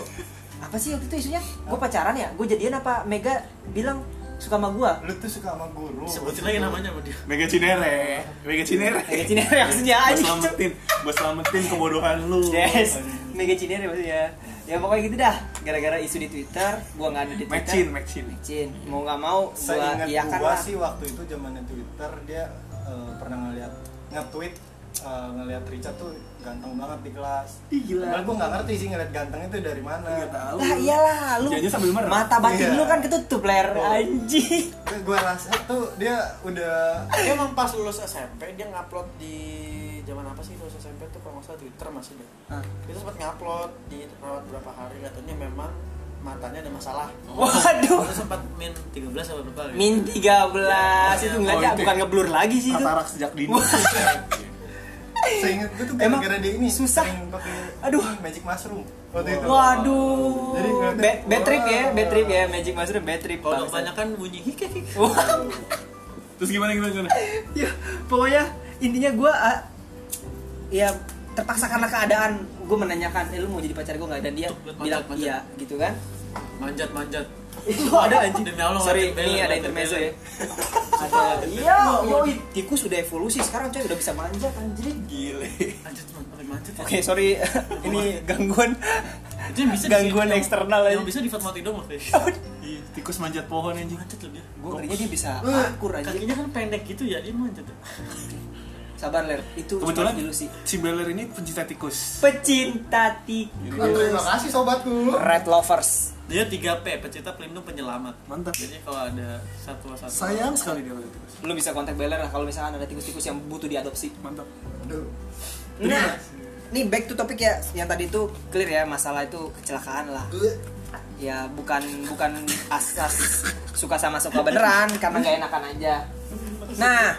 [SPEAKER 1] apa sih waktu itu isunya gue pacaran ya gue jadian apa Mega bilang suka sama gue
[SPEAKER 3] Lu tuh suka sama guru.
[SPEAKER 6] Sebutin
[SPEAKER 1] gitu.
[SPEAKER 6] lagi namanya sama dia.
[SPEAKER 2] Mega Cinere. Mega Cinere.
[SPEAKER 1] Mega Cinere maksudnya
[SPEAKER 2] Buat
[SPEAKER 1] aja.
[SPEAKER 2] selamatin, buat selamatin kebodohan lu.
[SPEAKER 1] Yes, Mega Cinere maksudnya. Ya pokoknya gitu dah. Gara-gara isu di Twitter, gua nggak ada di Twitter.
[SPEAKER 2] Mecin, Mecin.
[SPEAKER 1] Mecin. Mau nggak mau gua
[SPEAKER 3] Seingat
[SPEAKER 1] iyakan iya,
[SPEAKER 3] gua
[SPEAKER 1] kan lah.
[SPEAKER 3] sih waktu itu zamannya Twitter dia eh, pernah ngeliat nge-tweet eh, ngeliat Richard tuh ganteng banget di kelas.
[SPEAKER 1] Ih, gila.
[SPEAKER 3] Padahal gua nggak ngerti sih ngeliat ganteng itu dari mana.
[SPEAKER 5] Iya,
[SPEAKER 2] Nggak tahu.
[SPEAKER 1] Lah iyalah lu.
[SPEAKER 2] Jangan sambil merem.
[SPEAKER 1] Mata batin
[SPEAKER 3] Iya.
[SPEAKER 1] lu kan ketutup ler
[SPEAKER 3] Oh.
[SPEAKER 1] anjing.
[SPEAKER 3] Terus gua rasa tuh dia udah
[SPEAKER 6] Dia emang pas lulus SMP dia ngupload di zaman apa sih lulus SMP tuh kalau nggak salah Twitter masih deh.
[SPEAKER 1] Ah.
[SPEAKER 6] Dia sempat ngupload di rawat berapa hari katanya memang matanya ada masalah.
[SPEAKER 1] Waduh.
[SPEAKER 6] Itu sempat min 13 atau berapa gitu.
[SPEAKER 1] Min 13 itu
[SPEAKER 2] Oh,
[SPEAKER 1] ngajak
[SPEAKER 2] itu.
[SPEAKER 1] bukan ngeblur lagi sih itu.
[SPEAKER 2] Katarak sejak dini.
[SPEAKER 3] seingat gua tuh
[SPEAKER 1] Eh, Emang
[SPEAKER 3] gara-gara dia ini
[SPEAKER 1] susah.
[SPEAKER 3] sering pakai
[SPEAKER 1] Aduh.
[SPEAKER 3] ini, magic mushroom waktu itu.
[SPEAKER 1] Waduh.
[SPEAKER 3] Jadi ngeliatin,
[SPEAKER 1] Bad, bad trip ya,
[SPEAKER 3] wah.
[SPEAKER 1] bad trip ya, Magic Master bad trip.
[SPEAKER 6] Kalau
[SPEAKER 1] bangsa.
[SPEAKER 6] kebanyakan bunyi hike hike.
[SPEAKER 1] Wah.
[SPEAKER 2] Terus gimana gimana gimana?
[SPEAKER 1] ya pokoknya intinya gue ya terpaksa karena keadaan gue menanyakan eh, lu mau jadi pacar gue nggak dan dia
[SPEAKER 6] Manjat,
[SPEAKER 1] bilang
[SPEAKER 6] manjat.
[SPEAKER 1] iya gitu kan
[SPEAKER 6] Manjat manjat.
[SPEAKER 1] itu ada anjing
[SPEAKER 6] Demi Allah,
[SPEAKER 1] sorry
[SPEAKER 6] ngeliatin
[SPEAKER 1] ini
[SPEAKER 6] bela,
[SPEAKER 1] ada
[SPEAKER 6] ngeliatin
[SPEAKER 1] intermezzo
[SPEAKER 6] bela.
[SPEAKER 1] ya ada iya yoi tikus udah evolusi sekarang coy udah bisa manjat anjir
[SPEAKER 2] Gile.
[SPEAKER 6] Manjat man- pakai manjat. ya.
[SPEAKER 1] oke sorry ini gangguan
[SPEAKER 6] Itu yang bisa di-
[SPEAKER 1] Gangguan
[SPEAKER 6] yang-
[SPEAKER 1] eksternal aja.
[SPEAKER 6] Yang bisa di Fatmawati dong waktu itu.
[SPEAKER 2] Ih, Tikus manjat pohon anjing.
[SPEAKER 6] Manjat loh dia.
[SPEAKER 1] gue ngerinya dia bisa
[SPEAKER 3] Eh,
[SPEAKER 1] akur anjir
[SPEAKER 6] Kakinya kan pendek gitu ya, dia manjat.
[SPEAKER 1] sabar ler itu cuma
[SPEAKER 2] Kebetulan
[SPEAKER 1] ilusi
[SPEAKER 2] si Beller ini pencinta tikus.
[SPEAKER 1] pecinta
[SPEAKER 3] Wah, Ya, Terima
[SPEAKER 1] tikus
[SPEAKER 3] kasih sobatku.
[SPEAKER 1] red lovers
[SPEAKER 6] Dia 3P, pecinta pelindung penyelamat.
[SPEAKER 2] Mantap.
[SPEAKER 6] Jadi kalau ada satu-satu
[SPEAKER 2] Sayang sekali dia pencinta tikus.
[SPEAKER 1] lu bisa kontak Beller lah kalau misalkan ada tikus-tikus yang butuh diadopsi
[SPEAKER 2] Mantap.
[SPEAKER 3] Aduh.
[SPEAKER 1] Nah, nih back to topic ya yang tadi itu clear ya masalah itu kecelakaan lah. Ya bukan bukan asas suka sama suka beneran karena gak enakan aja. Nah,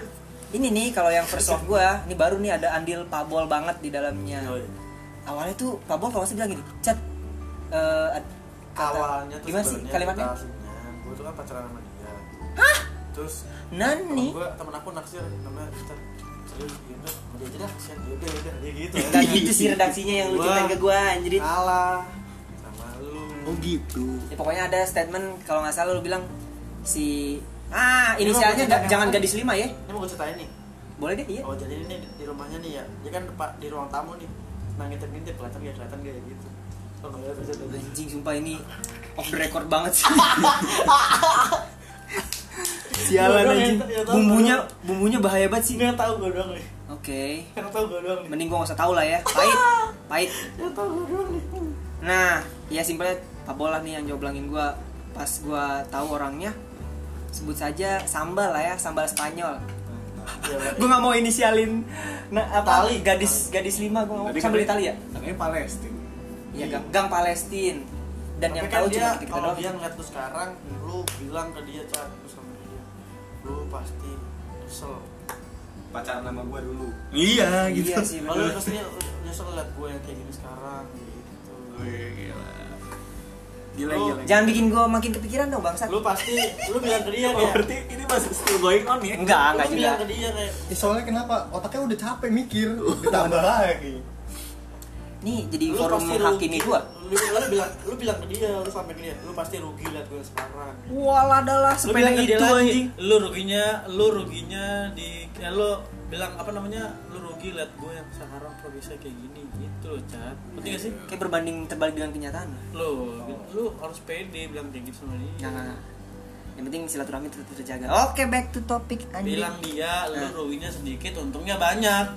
[SPEAKER 1] ini nih kalau yang first love gue, ini baru nih ada andil pabol banget di dalamnya. Awalnya tuh pabol kalau nggak salah bilang gini, chat eh, ad- kata-
[SPEAKER 6] awalnya tuh
[SPEAKER 1] gimana sih
[SPEAKER 6] sebenarnya
[SPEAKER 1] kalimatnya?
[SPEAKER 6] kita aslinya, gue tuh kan pacaran sama dia terus temen
[SPEAKER 1] Nani.
[SPEAKER 6] gue temen aku naksir namanya kita serius gitu sama dia aja dah kasihan dia udah udah dia gitu
[SPEAKER 1] Gak gitu sih redaksinya yang lu
[SPEAKER 6] Gua-
[SPEAKER 1] ceritain ke gue anjir.
[SPEAKER 6] kalah sama lu
[SPEAKER 2] Oh gitu.
[SPEAKER 1] Ya, pokoknya ada statement kalau nggak salah lu bilang si ah inisialnya nggak- jangan gadis lima ya.
[SPEAKER 6] ini mau gue ceritain nih
[SPEAKER 1] Boleh deh, iya.
[SPEAKER 6] oh jadi ini di- di rumahnya nih ya dia kan pak di ruang tamu nih nah ngintip ngintip kelihatan gak kelihatan gak ya gitu oh nggak ada bisa tuh
[SPEAKER 1] Anjing sumpah ini off the record banget sih. Sialan
[SPEAKER 6] Bodoh,
[SPEAKER 1] anjing.
[SPEAKER 6] ya, ya tahu,
[SPEAKER 1] Bumbunya bumbunya bahaya banget sih.
[SPEAKER 6] ini yang tahu gue doang nih
[SPEAKER 1] Oke.
[SPEAKER 6] yang tahu gue doang nih
[SPEAKER 1] Mending gua gak usah tahu lah ya. Pahit. Pahit.
[SPEAKER 6] yang Ya, tahu gue doang nih
[SPEAKER 1] Nah, ya simpelnya Pak Bola nih yang joblangin gua pas gua tahu orangnya sebut saja sambal lah ya, sambal Spanyol.
[SPEAKER 6] Iya, Pak.
[SPEAKER 1] Gua nggak mau inisialin nah, apa
[SPEAKER 6] Tali.
[SPEAKER 1] gadis gadis lima gua nggak mau
[SPEAKER 2] Tadi
[SPEAKER 1] sambal
[SPEAKER 2] katanya-
[SPEAKER 1] Italia.
[SPEAKER 2] Katanya Palestina.
[SPEAKER 1] Ya gang, gang Palestin. Dan
[SPEAKER 6] Iya. Tapi
[SPEAKER 1] yang
[SPEAKER 6] kan
[SPEAKER 1] tahu
[SPEAKER 6] dia
[SPEAKER 1] cuma kita
[SPEAKER 6] kalau
[SPEAKER 1] doang.
[SPEAKER 6] dia ngeliat lu sekarang lu bilang ke dia cat lu sama dia lu pasti nyesel
[SPEAKER 3] Pacaran sama gua dulu.
[SPEAKER 2] Iya
[SPEAKER 6] Nah,
[SPEAKER 2] gitu.
[SPEAKER 1] Iya sih
[SPEAKER 6] lalu
[SPEAKER 1] bener.
[SPEAKER 6] pasti nyesel liat gue yang kayak gini sekarang gitu
[SPEAKER 1] Iya.
[SPEAKER 2] Wih, gila. Oh. Gila
[SPEAKER 6] Lu-
[SPEAKER 2] gila.
[SPEAKER 1] Jangan bikin gua makin kepikiran dong bangsat.
[SPEAKER 6] lu pasti lu bilang ke dia
[SPEAKER 2] Oh,
[SPEAKER 6] kayak
[SPEAKER 2] berarti ini masih still going on ya?
[SPEAKER 1] Enggak,
[SPEAKER 6] lu
[SPEAKER 1] enggak Ah, juga.
[SPEAKER 6] bilang ke dia kayak
[SPEAKER 3] Eh, soalnya kenapa? Otaknya udah capek mikir, ditambah lagi.
[SPEAKER 1] Nih jadi
[SPEAKER 6] lu
[SPEAKER 1] forum
[SPEAKER 6] pasti
[SPEAKER 1] menghakimi
[SPEAKER 6] rugi
[SPEAKER 1] gua.
[SPEAKER 6] lu, lu bilang lu bilang ke dia lu sampai ke dia lu pasti rugi liat gue sekarang
[SPEAKER 1] Walah adalah
[SPEAKER 5] Lu
[SPEAKER 1] sepeda
[SPEAKER 5] bilang ke dia
[SPEAKER 1] itu
[SPEAKER 5] lagi,
[SPEAKER 1] gitu, anjing.
[SPEAKER 5] Lu ruginya, lu ruginya di ya lu bilang apa namanya? Lu rugi liat gue yang sekarang progresnya kayak gini gitu loh, Cat. Penting gak
[SPEAKER 6] Iya.
[SPEAKER 5] sih?
[SPEAKER 1] Kayak berbanding terbalik dengan kenyataan.
[SPEAKER 5] Lu, lu harus pede bilang kayak gitu sama dia.
[SPEAKER 1] Nah, yang penting silaturahmi tetap terjaga. Oke, back to topic anjing.
[SPEAKER 5] Bilang dia lu
[SPEAKER 1] Nah.
[SPEAKER 5] ruginya sedikit, untungnya banyak.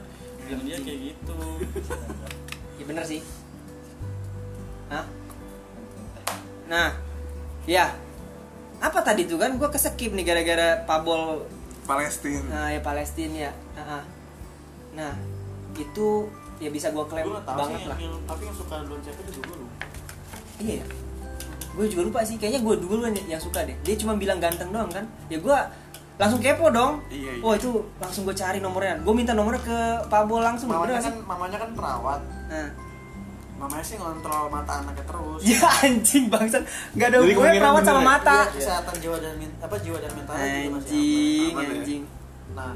[SPEAKER 5] Bilang dia kayak gitu.
[SPEAKER 1] Ya bener sih. Hah? Nah, ya. Apa tadi tuh kan gua keskip nih gara-gara pabol
[SPEAKER 2] Palestina.
[SPEAKER 1] nah, ya Palestina ya. Ah, ah. Nah, itu ya bisa gua klaim
[SPEAKER 6] gue gak tau sih
[SPEAKER 1] banget lah.
[SPEAKER 6] yang, yang- tapi yang suka duluan cewek itu juga lu
[SPEAKER 1] Iya ya. Gue juga lupa sih, kayaknya gue duluan yang suka deh. Dia cuma bilang ganteng doang kan. Ya gue langsung kepo dong
[SPEAKER 2] Iya, iya.
[SPEAKER 1] oh itu langsung gue cari nomornya gue minta nomornya ke Pak Bo langsung bener
[SPEAKER 5] mamanya kan
[SPEAKER 1] sih?
[SPEAKER 5] mamanya kan perawat
[SPEAKER 1] nah
[SPEAKER 5] mamanya sih ngontrol mata anaknya terus
[SPEAKER 1] ya anjing bangsat nggak ada
[SPEAKER 2] Jadi
[SPEAKER 1] hubungannya
[SPEAKER 2] kemungkinan
[SPEAKER 1] perawat sama
[SPEAKER 2] bener ya?
[SPEAKER 1] mata
[SPEAKER 5] Iya, kesehatan jiwa dan min- apa jiwa dan mental juga masih
[SPEAKER 1] anjing
[SPEAKER 2] aman ya?
[SPEAKER 1] anjing
[SPEAKER 5] aman. nah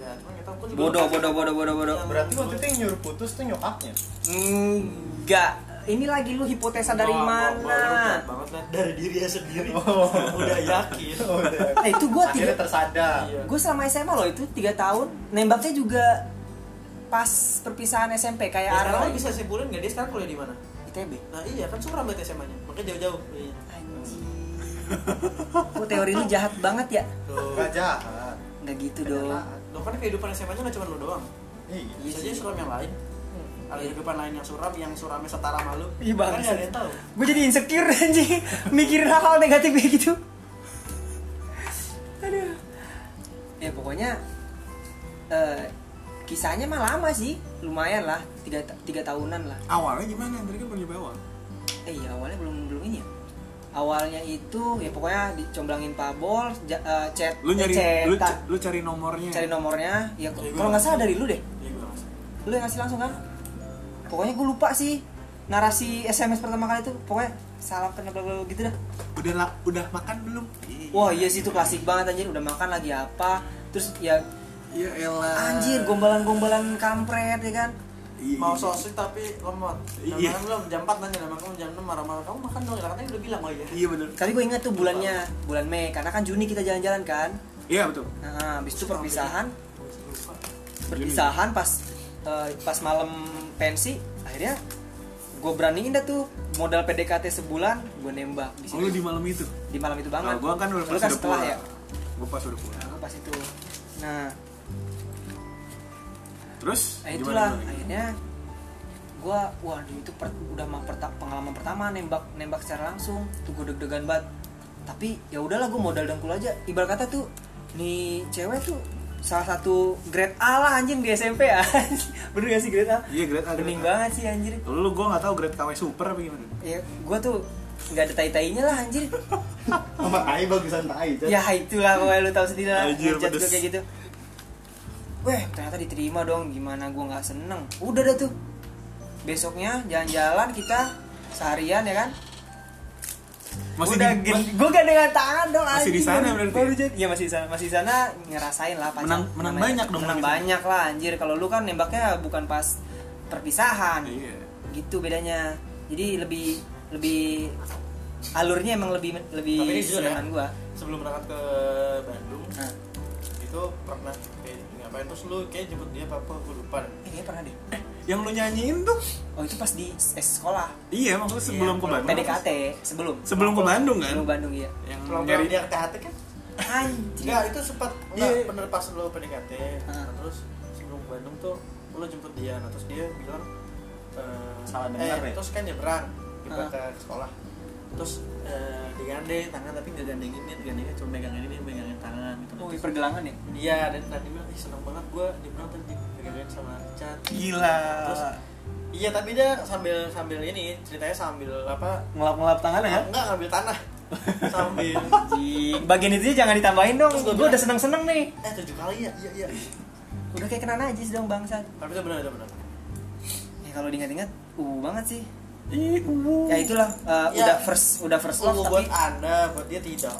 [SPEAKER 5] ya cuman kita aku juga
[SPEAKER 1] bodoh bodoh bodoh bodoh bodoh
[SPEAKER 3] Berarti waktu itu yang nyuruh putus tuh nyokapnya.
[SPEAKER 1] enggak ini lagi lu hipotesa dari
[SPEAKER 5] Wah, wah, wah, lu
[SPEAKER 1] mana
[SPEAKER 5] jahat banget Lan. dari dirinya sendiri
[SPEAKER 3] Oh.
[SPEAKER 5] udah yakin
[SPEAKER 3] Oh, udah.
[SPEAKER 1] Eh, itu gue tiga
[SPEAKER 3] Akhirnya tersadar.
[SPEAKER 5] Iya.
[SPEAKER 1] gue selama SMA loh itu tiga tahun nembaknya juga pas perpisahan SMP kayak ya,
[SPEAKER 5] Ya, sekarang
[SPEAKER 1] Ara
[SPEAKER 5] kan bisa simpulin nggak dia sekarang kuliah di mana?
[SPEAKER 1] ITB
[SPEAKER 5] Nah iya kan suram banget SMA nya, makanya jauh-jauh. Iya.
[SPEAKER 1] Kok teori lu jahat banget ya
[SPEAKER 5] Tuh.
[SPEAKER 3] Enggak jahat.
[SPEAKER 1] nggak gitu dong
[SPEAKER 3] Kenyataan.
[SPEAKER 5] Lo kan kehidupan SMA nya nggak cuma lo doang,
[SPEAKER 3] Iya.
[SPEAKER 5] bisa aja suram yang lain. Ada kehidupan lain yang suram, yang suramnya setara malu.
[SPEAKER 1] Iya, bang.
[SPEAKER 5] Kan nggak ada yang tahu.
[SPEAKER 1] gue jadi insecure anjing mikirin hal-hal negatif kayak gitu aduh ya pokoknya eh, kisahnya mah lama sih lumayan lah tiga, tiga tahunan lah
[SPEAKER 2] Awalnya gimana? Tadi kan pergi bawah.
[SPEAKER 1] eh iya awalnya belum belum ini ya awalnya itu ya pokoknya dicomblangin pabol ja- eh, chat
[SPEAKER 2] Lu
[SPEAKER 1] eh,
[SPEAKER 2] nyari
[SPEAKER 1] chat-
[SPEAKER 2] lu, c- lu cari nomornya.
[SPEAKER 1] cari nomornya ya
[SPEAKER 5] Dari gua
[SPEAKER 1] kalau nggak salah dari lu deh
[SPEAKER 5] Iya gue langsung.
[SPEAKER 1] lu yang ngasih langsung kan pokoknya gue lupa sih narasi SMS pertama kali itu pokoknya salam kenal bla bla bla gitu dah
[SPEAKER 2] Udah la- udah makan belum?
[SPEAKER 1] wah iya sih itu klasik banget anjir udah makan lagi apa terus ya eh,
[SPEAKER 2] Iya elah.
[SPEAKER 1] anjir gombalan-gombalan kampret ya kan
[SPEAKER 2] Iya.
[SPEAKER 5] Mau sosis tapi lemot. Udah
[SPEAKER 2] Iya.
[SPEAKER 5] makan belum? Jam 4 nanya, udah makan belum? jam 6 marah-marah. Kamu makan dong, ya katanya udah bilang oh iya.
[SPEAKER 2] Iya bener.
[SPEAKER 1] tapi gue inget tuh bulannya bulan Mei karena kan Juni kita jalan-jalan kan
[SPEAKER 2] Iya betul.
[SPEAKER 1] nah habis itu
[SPEAKER 5] Sampai-
[SPEAKER 1] perpisahan
[SPEAKER 5] Lupa.
[SPEAKER 1] perpisahan pas eh, pas malam pensi akhirnya gue beraniin dah tuh modal PDKT sebulan gue nembak di
[SPEAKER 2] Oh, lu
[SPEAKER 1] situ.
[SPEAKER 2] di malam itu.
[SPEAKER 1] di malam itu banget
[SPEAKER 2] Kalau gua kan udah
[SPEAKER 1] Lu
[SPEAKER 2] pas
[SPEAKER 1] kan
[SPEAKER 2] udah
[SPEAKER 1] setelah
[SPEAKER 2] pulang.
[SPEAKER 1] ya
[SPEAKER 2] Gua pas udah pulang.
[SPEAKER 1] Aku pas itu nah
[SPEAKER 2] Terus
[SPEAKER 1] eh,
[SPEAKER 2] gimana,
[SPEAKER 1] itulah
[SPEAKER 2] gimana?
[SPEAKER 1] akhirnya gue waduh itu per- udah mah perta- pengalaman pertama nembak nembak secara langsung tuh gue deg-degan banget tapi ya udahlah gue modal dengkul aja ibarat kata tuh nih cewek tuh salah satu grade A lah anjing di SMP ya bener gak sih grade A
[SPEAKER 2] Iya, grade A, grade
[SPEAKER 1] bening
[SPEAKER 2] A.
[SPEAKER 1] banget sih anjir
[SPEAKER 2] Lu gua enggak tahu grade KW super apa gimana.
[SPEAKER 1] ya gue tuh nggak ada tai-tainya lah anjir
[SPEAKER 3] Sama tai bagusan tai. Jat.
[SPEAKER 1] ya itulah pokoknya lu tahu sendiri lah
[SPEAKER 2] Anjir,
[SPEAKER 1] ngejat gue
[SPEAKER 2] pedes.
[SPEAKER 1] kayak gitu weh ternyata diterima dong gimana gue nggak seneng udah dah tuh besoknya jalan-jalan kita seharian ya kan
[SPEAKER 2] Masih
[SPEAKER 1] udah
[SPEAKER 2] di- ma-
[SPEAKER 1] gue gandengan tangan dong
[SPEAKER 2] Masih di
[SPEAKER 1] anjing.
[SPEAKER 2] sana berarti? ya?
[SPEAKER 1] Baru jadi- iya masih di sana masih di sana ngerasain lah pacar-
[SPEAKER 2] Menang- menang
[SPEAKER 1] namanya.
[SPEAKER 2] banyak dong
[SPEAKER 1] menang
[SPEAKER 2] kalau gitu.
[SPEAKER 1] banyak lah anjir kalau lu kan nembaknya bukan pas perpisahan
[SPEAKER 2] Iya.
[SPEAKER 1] gitu bedanya jadi lebih lebih alurnya emang lebih lebih
[SPEAKER 5] Tapi ini jujur ya.
[SPEAKER 1] senengan gua
[SPEAKER 5] Sebelum berangkat ke Bandung,
[SPEAKER 1] nah,
[SPEAKER 5] itu pernah kayak ngapain terus lu kayak jemput dia apa apa gue lupa deh.
[SPEAKER 1] ini pernah deh
[SPEAKER 2] Yang lu nyanyiin tuh
[SPEAKER 1] Oh itu pas di eh, sekolah
[SPEAKER 2] Iya, maksudnya sebelum ke Bandung.
[SPEAKER 1] PDKT sebelum
[SPEAKER 2] Sebelum ke Bandung kan?
[SPEAKER 1] sebelum Bandung iya
[SPEAKER 2] Yang
[SPEAKER 5] Kalau
[SPEAKER 2] nyari
[SPEAKER 5] dia ke THT kan?
[SPEAKER 1] anjing
[SPEAKER 5] Enggak, itu sempat enggak
[SPEAKER 2] Iya.
[SPEAKER 5] bener pas lo PDKT.
[SPEAKER 1] Ah.
[SPEAKER 5] Nah, terus sebelum ke Bandung tuh lo jemput dia, nah terus dia bilang eh,
[SPEAKER 3] Salah
[SPEAKER 5] eh,
[SPEAKER 3] dengar ya?
[SPEAKER 5] terus kan nyebrang nyebrang
[SPEAKER 1] Ah.
[SPEAKER 5] ke sekolah. Terus eh, digandeng tangan tapi nggak gandengin dia, digandengnya cuma megang ini dia megangin tangan gitu.
[SPEAKER 1] oh
[SPEAKER 5] Terus
[SPEAKER 1] pergelangan ya
[SPEAKER 5] Iya, dan tadi bilang, ih seneng banget gue dibilang tadi digandengin sama Richard.
[SPEAKER 2] gila.
[SPEAKER 5] Terus Iya, tapi dia sambil sambil ini ceritanya sambil apa?
[SPEAKER 2] Ngelap-ngelap tangan ya?
[SPEAKER 5] Enggak ngambil tanah. sambil
[SPEAKER 1] anjing bagian itu jangan ditambahin dong
[SPEAKER 5] Terus gua
[SPEAKER 1] gue udah
[SPEAKER 5] bilang-
[SPEAKER 1] seneng seneng nih
[SPEAKER 5] eh tujuh kali ya. Iya, iya.
[SPEAKER 1] udah kayak kena najis dong bangsa
[SPEAKER 5] Tapi itu benar, itu benar.
[SPEAKER 1] ya kalau diingat-ingat uh banget sih
[SPEAKER 2] Ih, wuh.
[SPEAKER 1] ya itulah uh,
[SPEAKER 5] Ya.
[SPEAKER 1] udah first udah first love
[SPEAKER 5] Oh,
[SPEAKER 1] tapi
[SPEAKER 5] buat anda, buat dia tidak.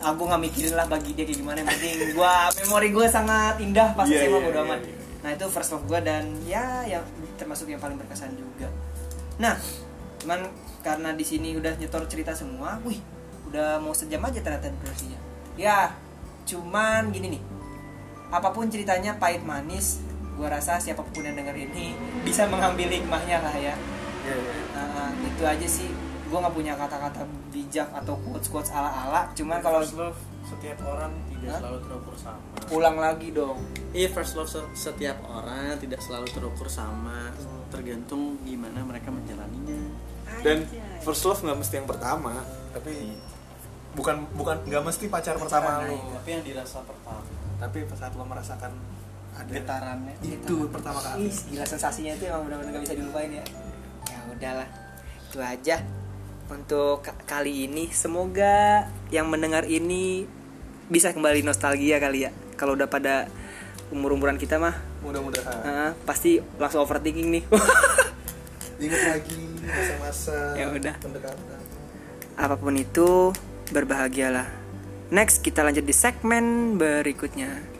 [SPEAKER 1] aku nggak mikirin lah bagi dia kayak gimana yang penting gue memori gue sangat indah pas SMA
[SPEAKER 2] Iya, iya,
[SPEAKER 1] bodo
[SPEAKER 2] iya,
[SPEAKER 1] amat
[SPEAKER 2] iya, iya.
[SPEAKER 1] nah itu first love gue dan ya yang termasuk yang paling berkesan juga nah cuman karena di sini udah nyetor cerita semua wih udah mau sejam aja ternyata durasinya ya cuman gini nih apapun ceritanya pahit manis gue rasa siapapun yang denger ini bisa mengambil hikmahnya lah ya Nah, itu aja sih gue nggak punya kata-kata bijak atau quotes quotes ala-ala cuman kalau
[SPEAKER 5] first love setiap orang tidak
[SPEAKER 1] Hah?
[SPEAKER 5] selalu terukur sama.
[SPEAKER 1] pulang lagi dong
[SPEAKER 5] Iya, first love se- setiap orang tidak selalu terukur sama, tergantung gimana mereka menjalaninya.
[SPEAKER 1] Iya,
[SPEAKER 2] Dan first love nggak mesti yang pertama, tapi bukan bukan nggak mesti pacar pertama lu,
[SPEAKER 5] Nah, Tapi yang dirasa pertama.
[SPEAKER 2] tapi saat lo merasakan ada
[SPEAKER 5] Getarannya.
[SPEAKER 2] itu pertama kali.
[SPEAKER 1] Ih, gila sensasinya itu emang benar-benar gak bisa dilupain ya ya udahlah itu aja untuk ka- kali ini semoga yang mendengar ini bisa kembali nostalgia kali ya kalau udah pada umur umuran kita mah
[SPEAKER 2] mudah-mudahan
[SPEAKER 1] ah, pasti langsung overthinking nih
[SPEAKER 7] Ingat lagi masa-masa
[SPEAKER 1] Ya udah.
[SPEAKER 7] pendekatan.
[SPEAKER 1] apapun itu berbahagialah next kita lanjut di segmen berikutnya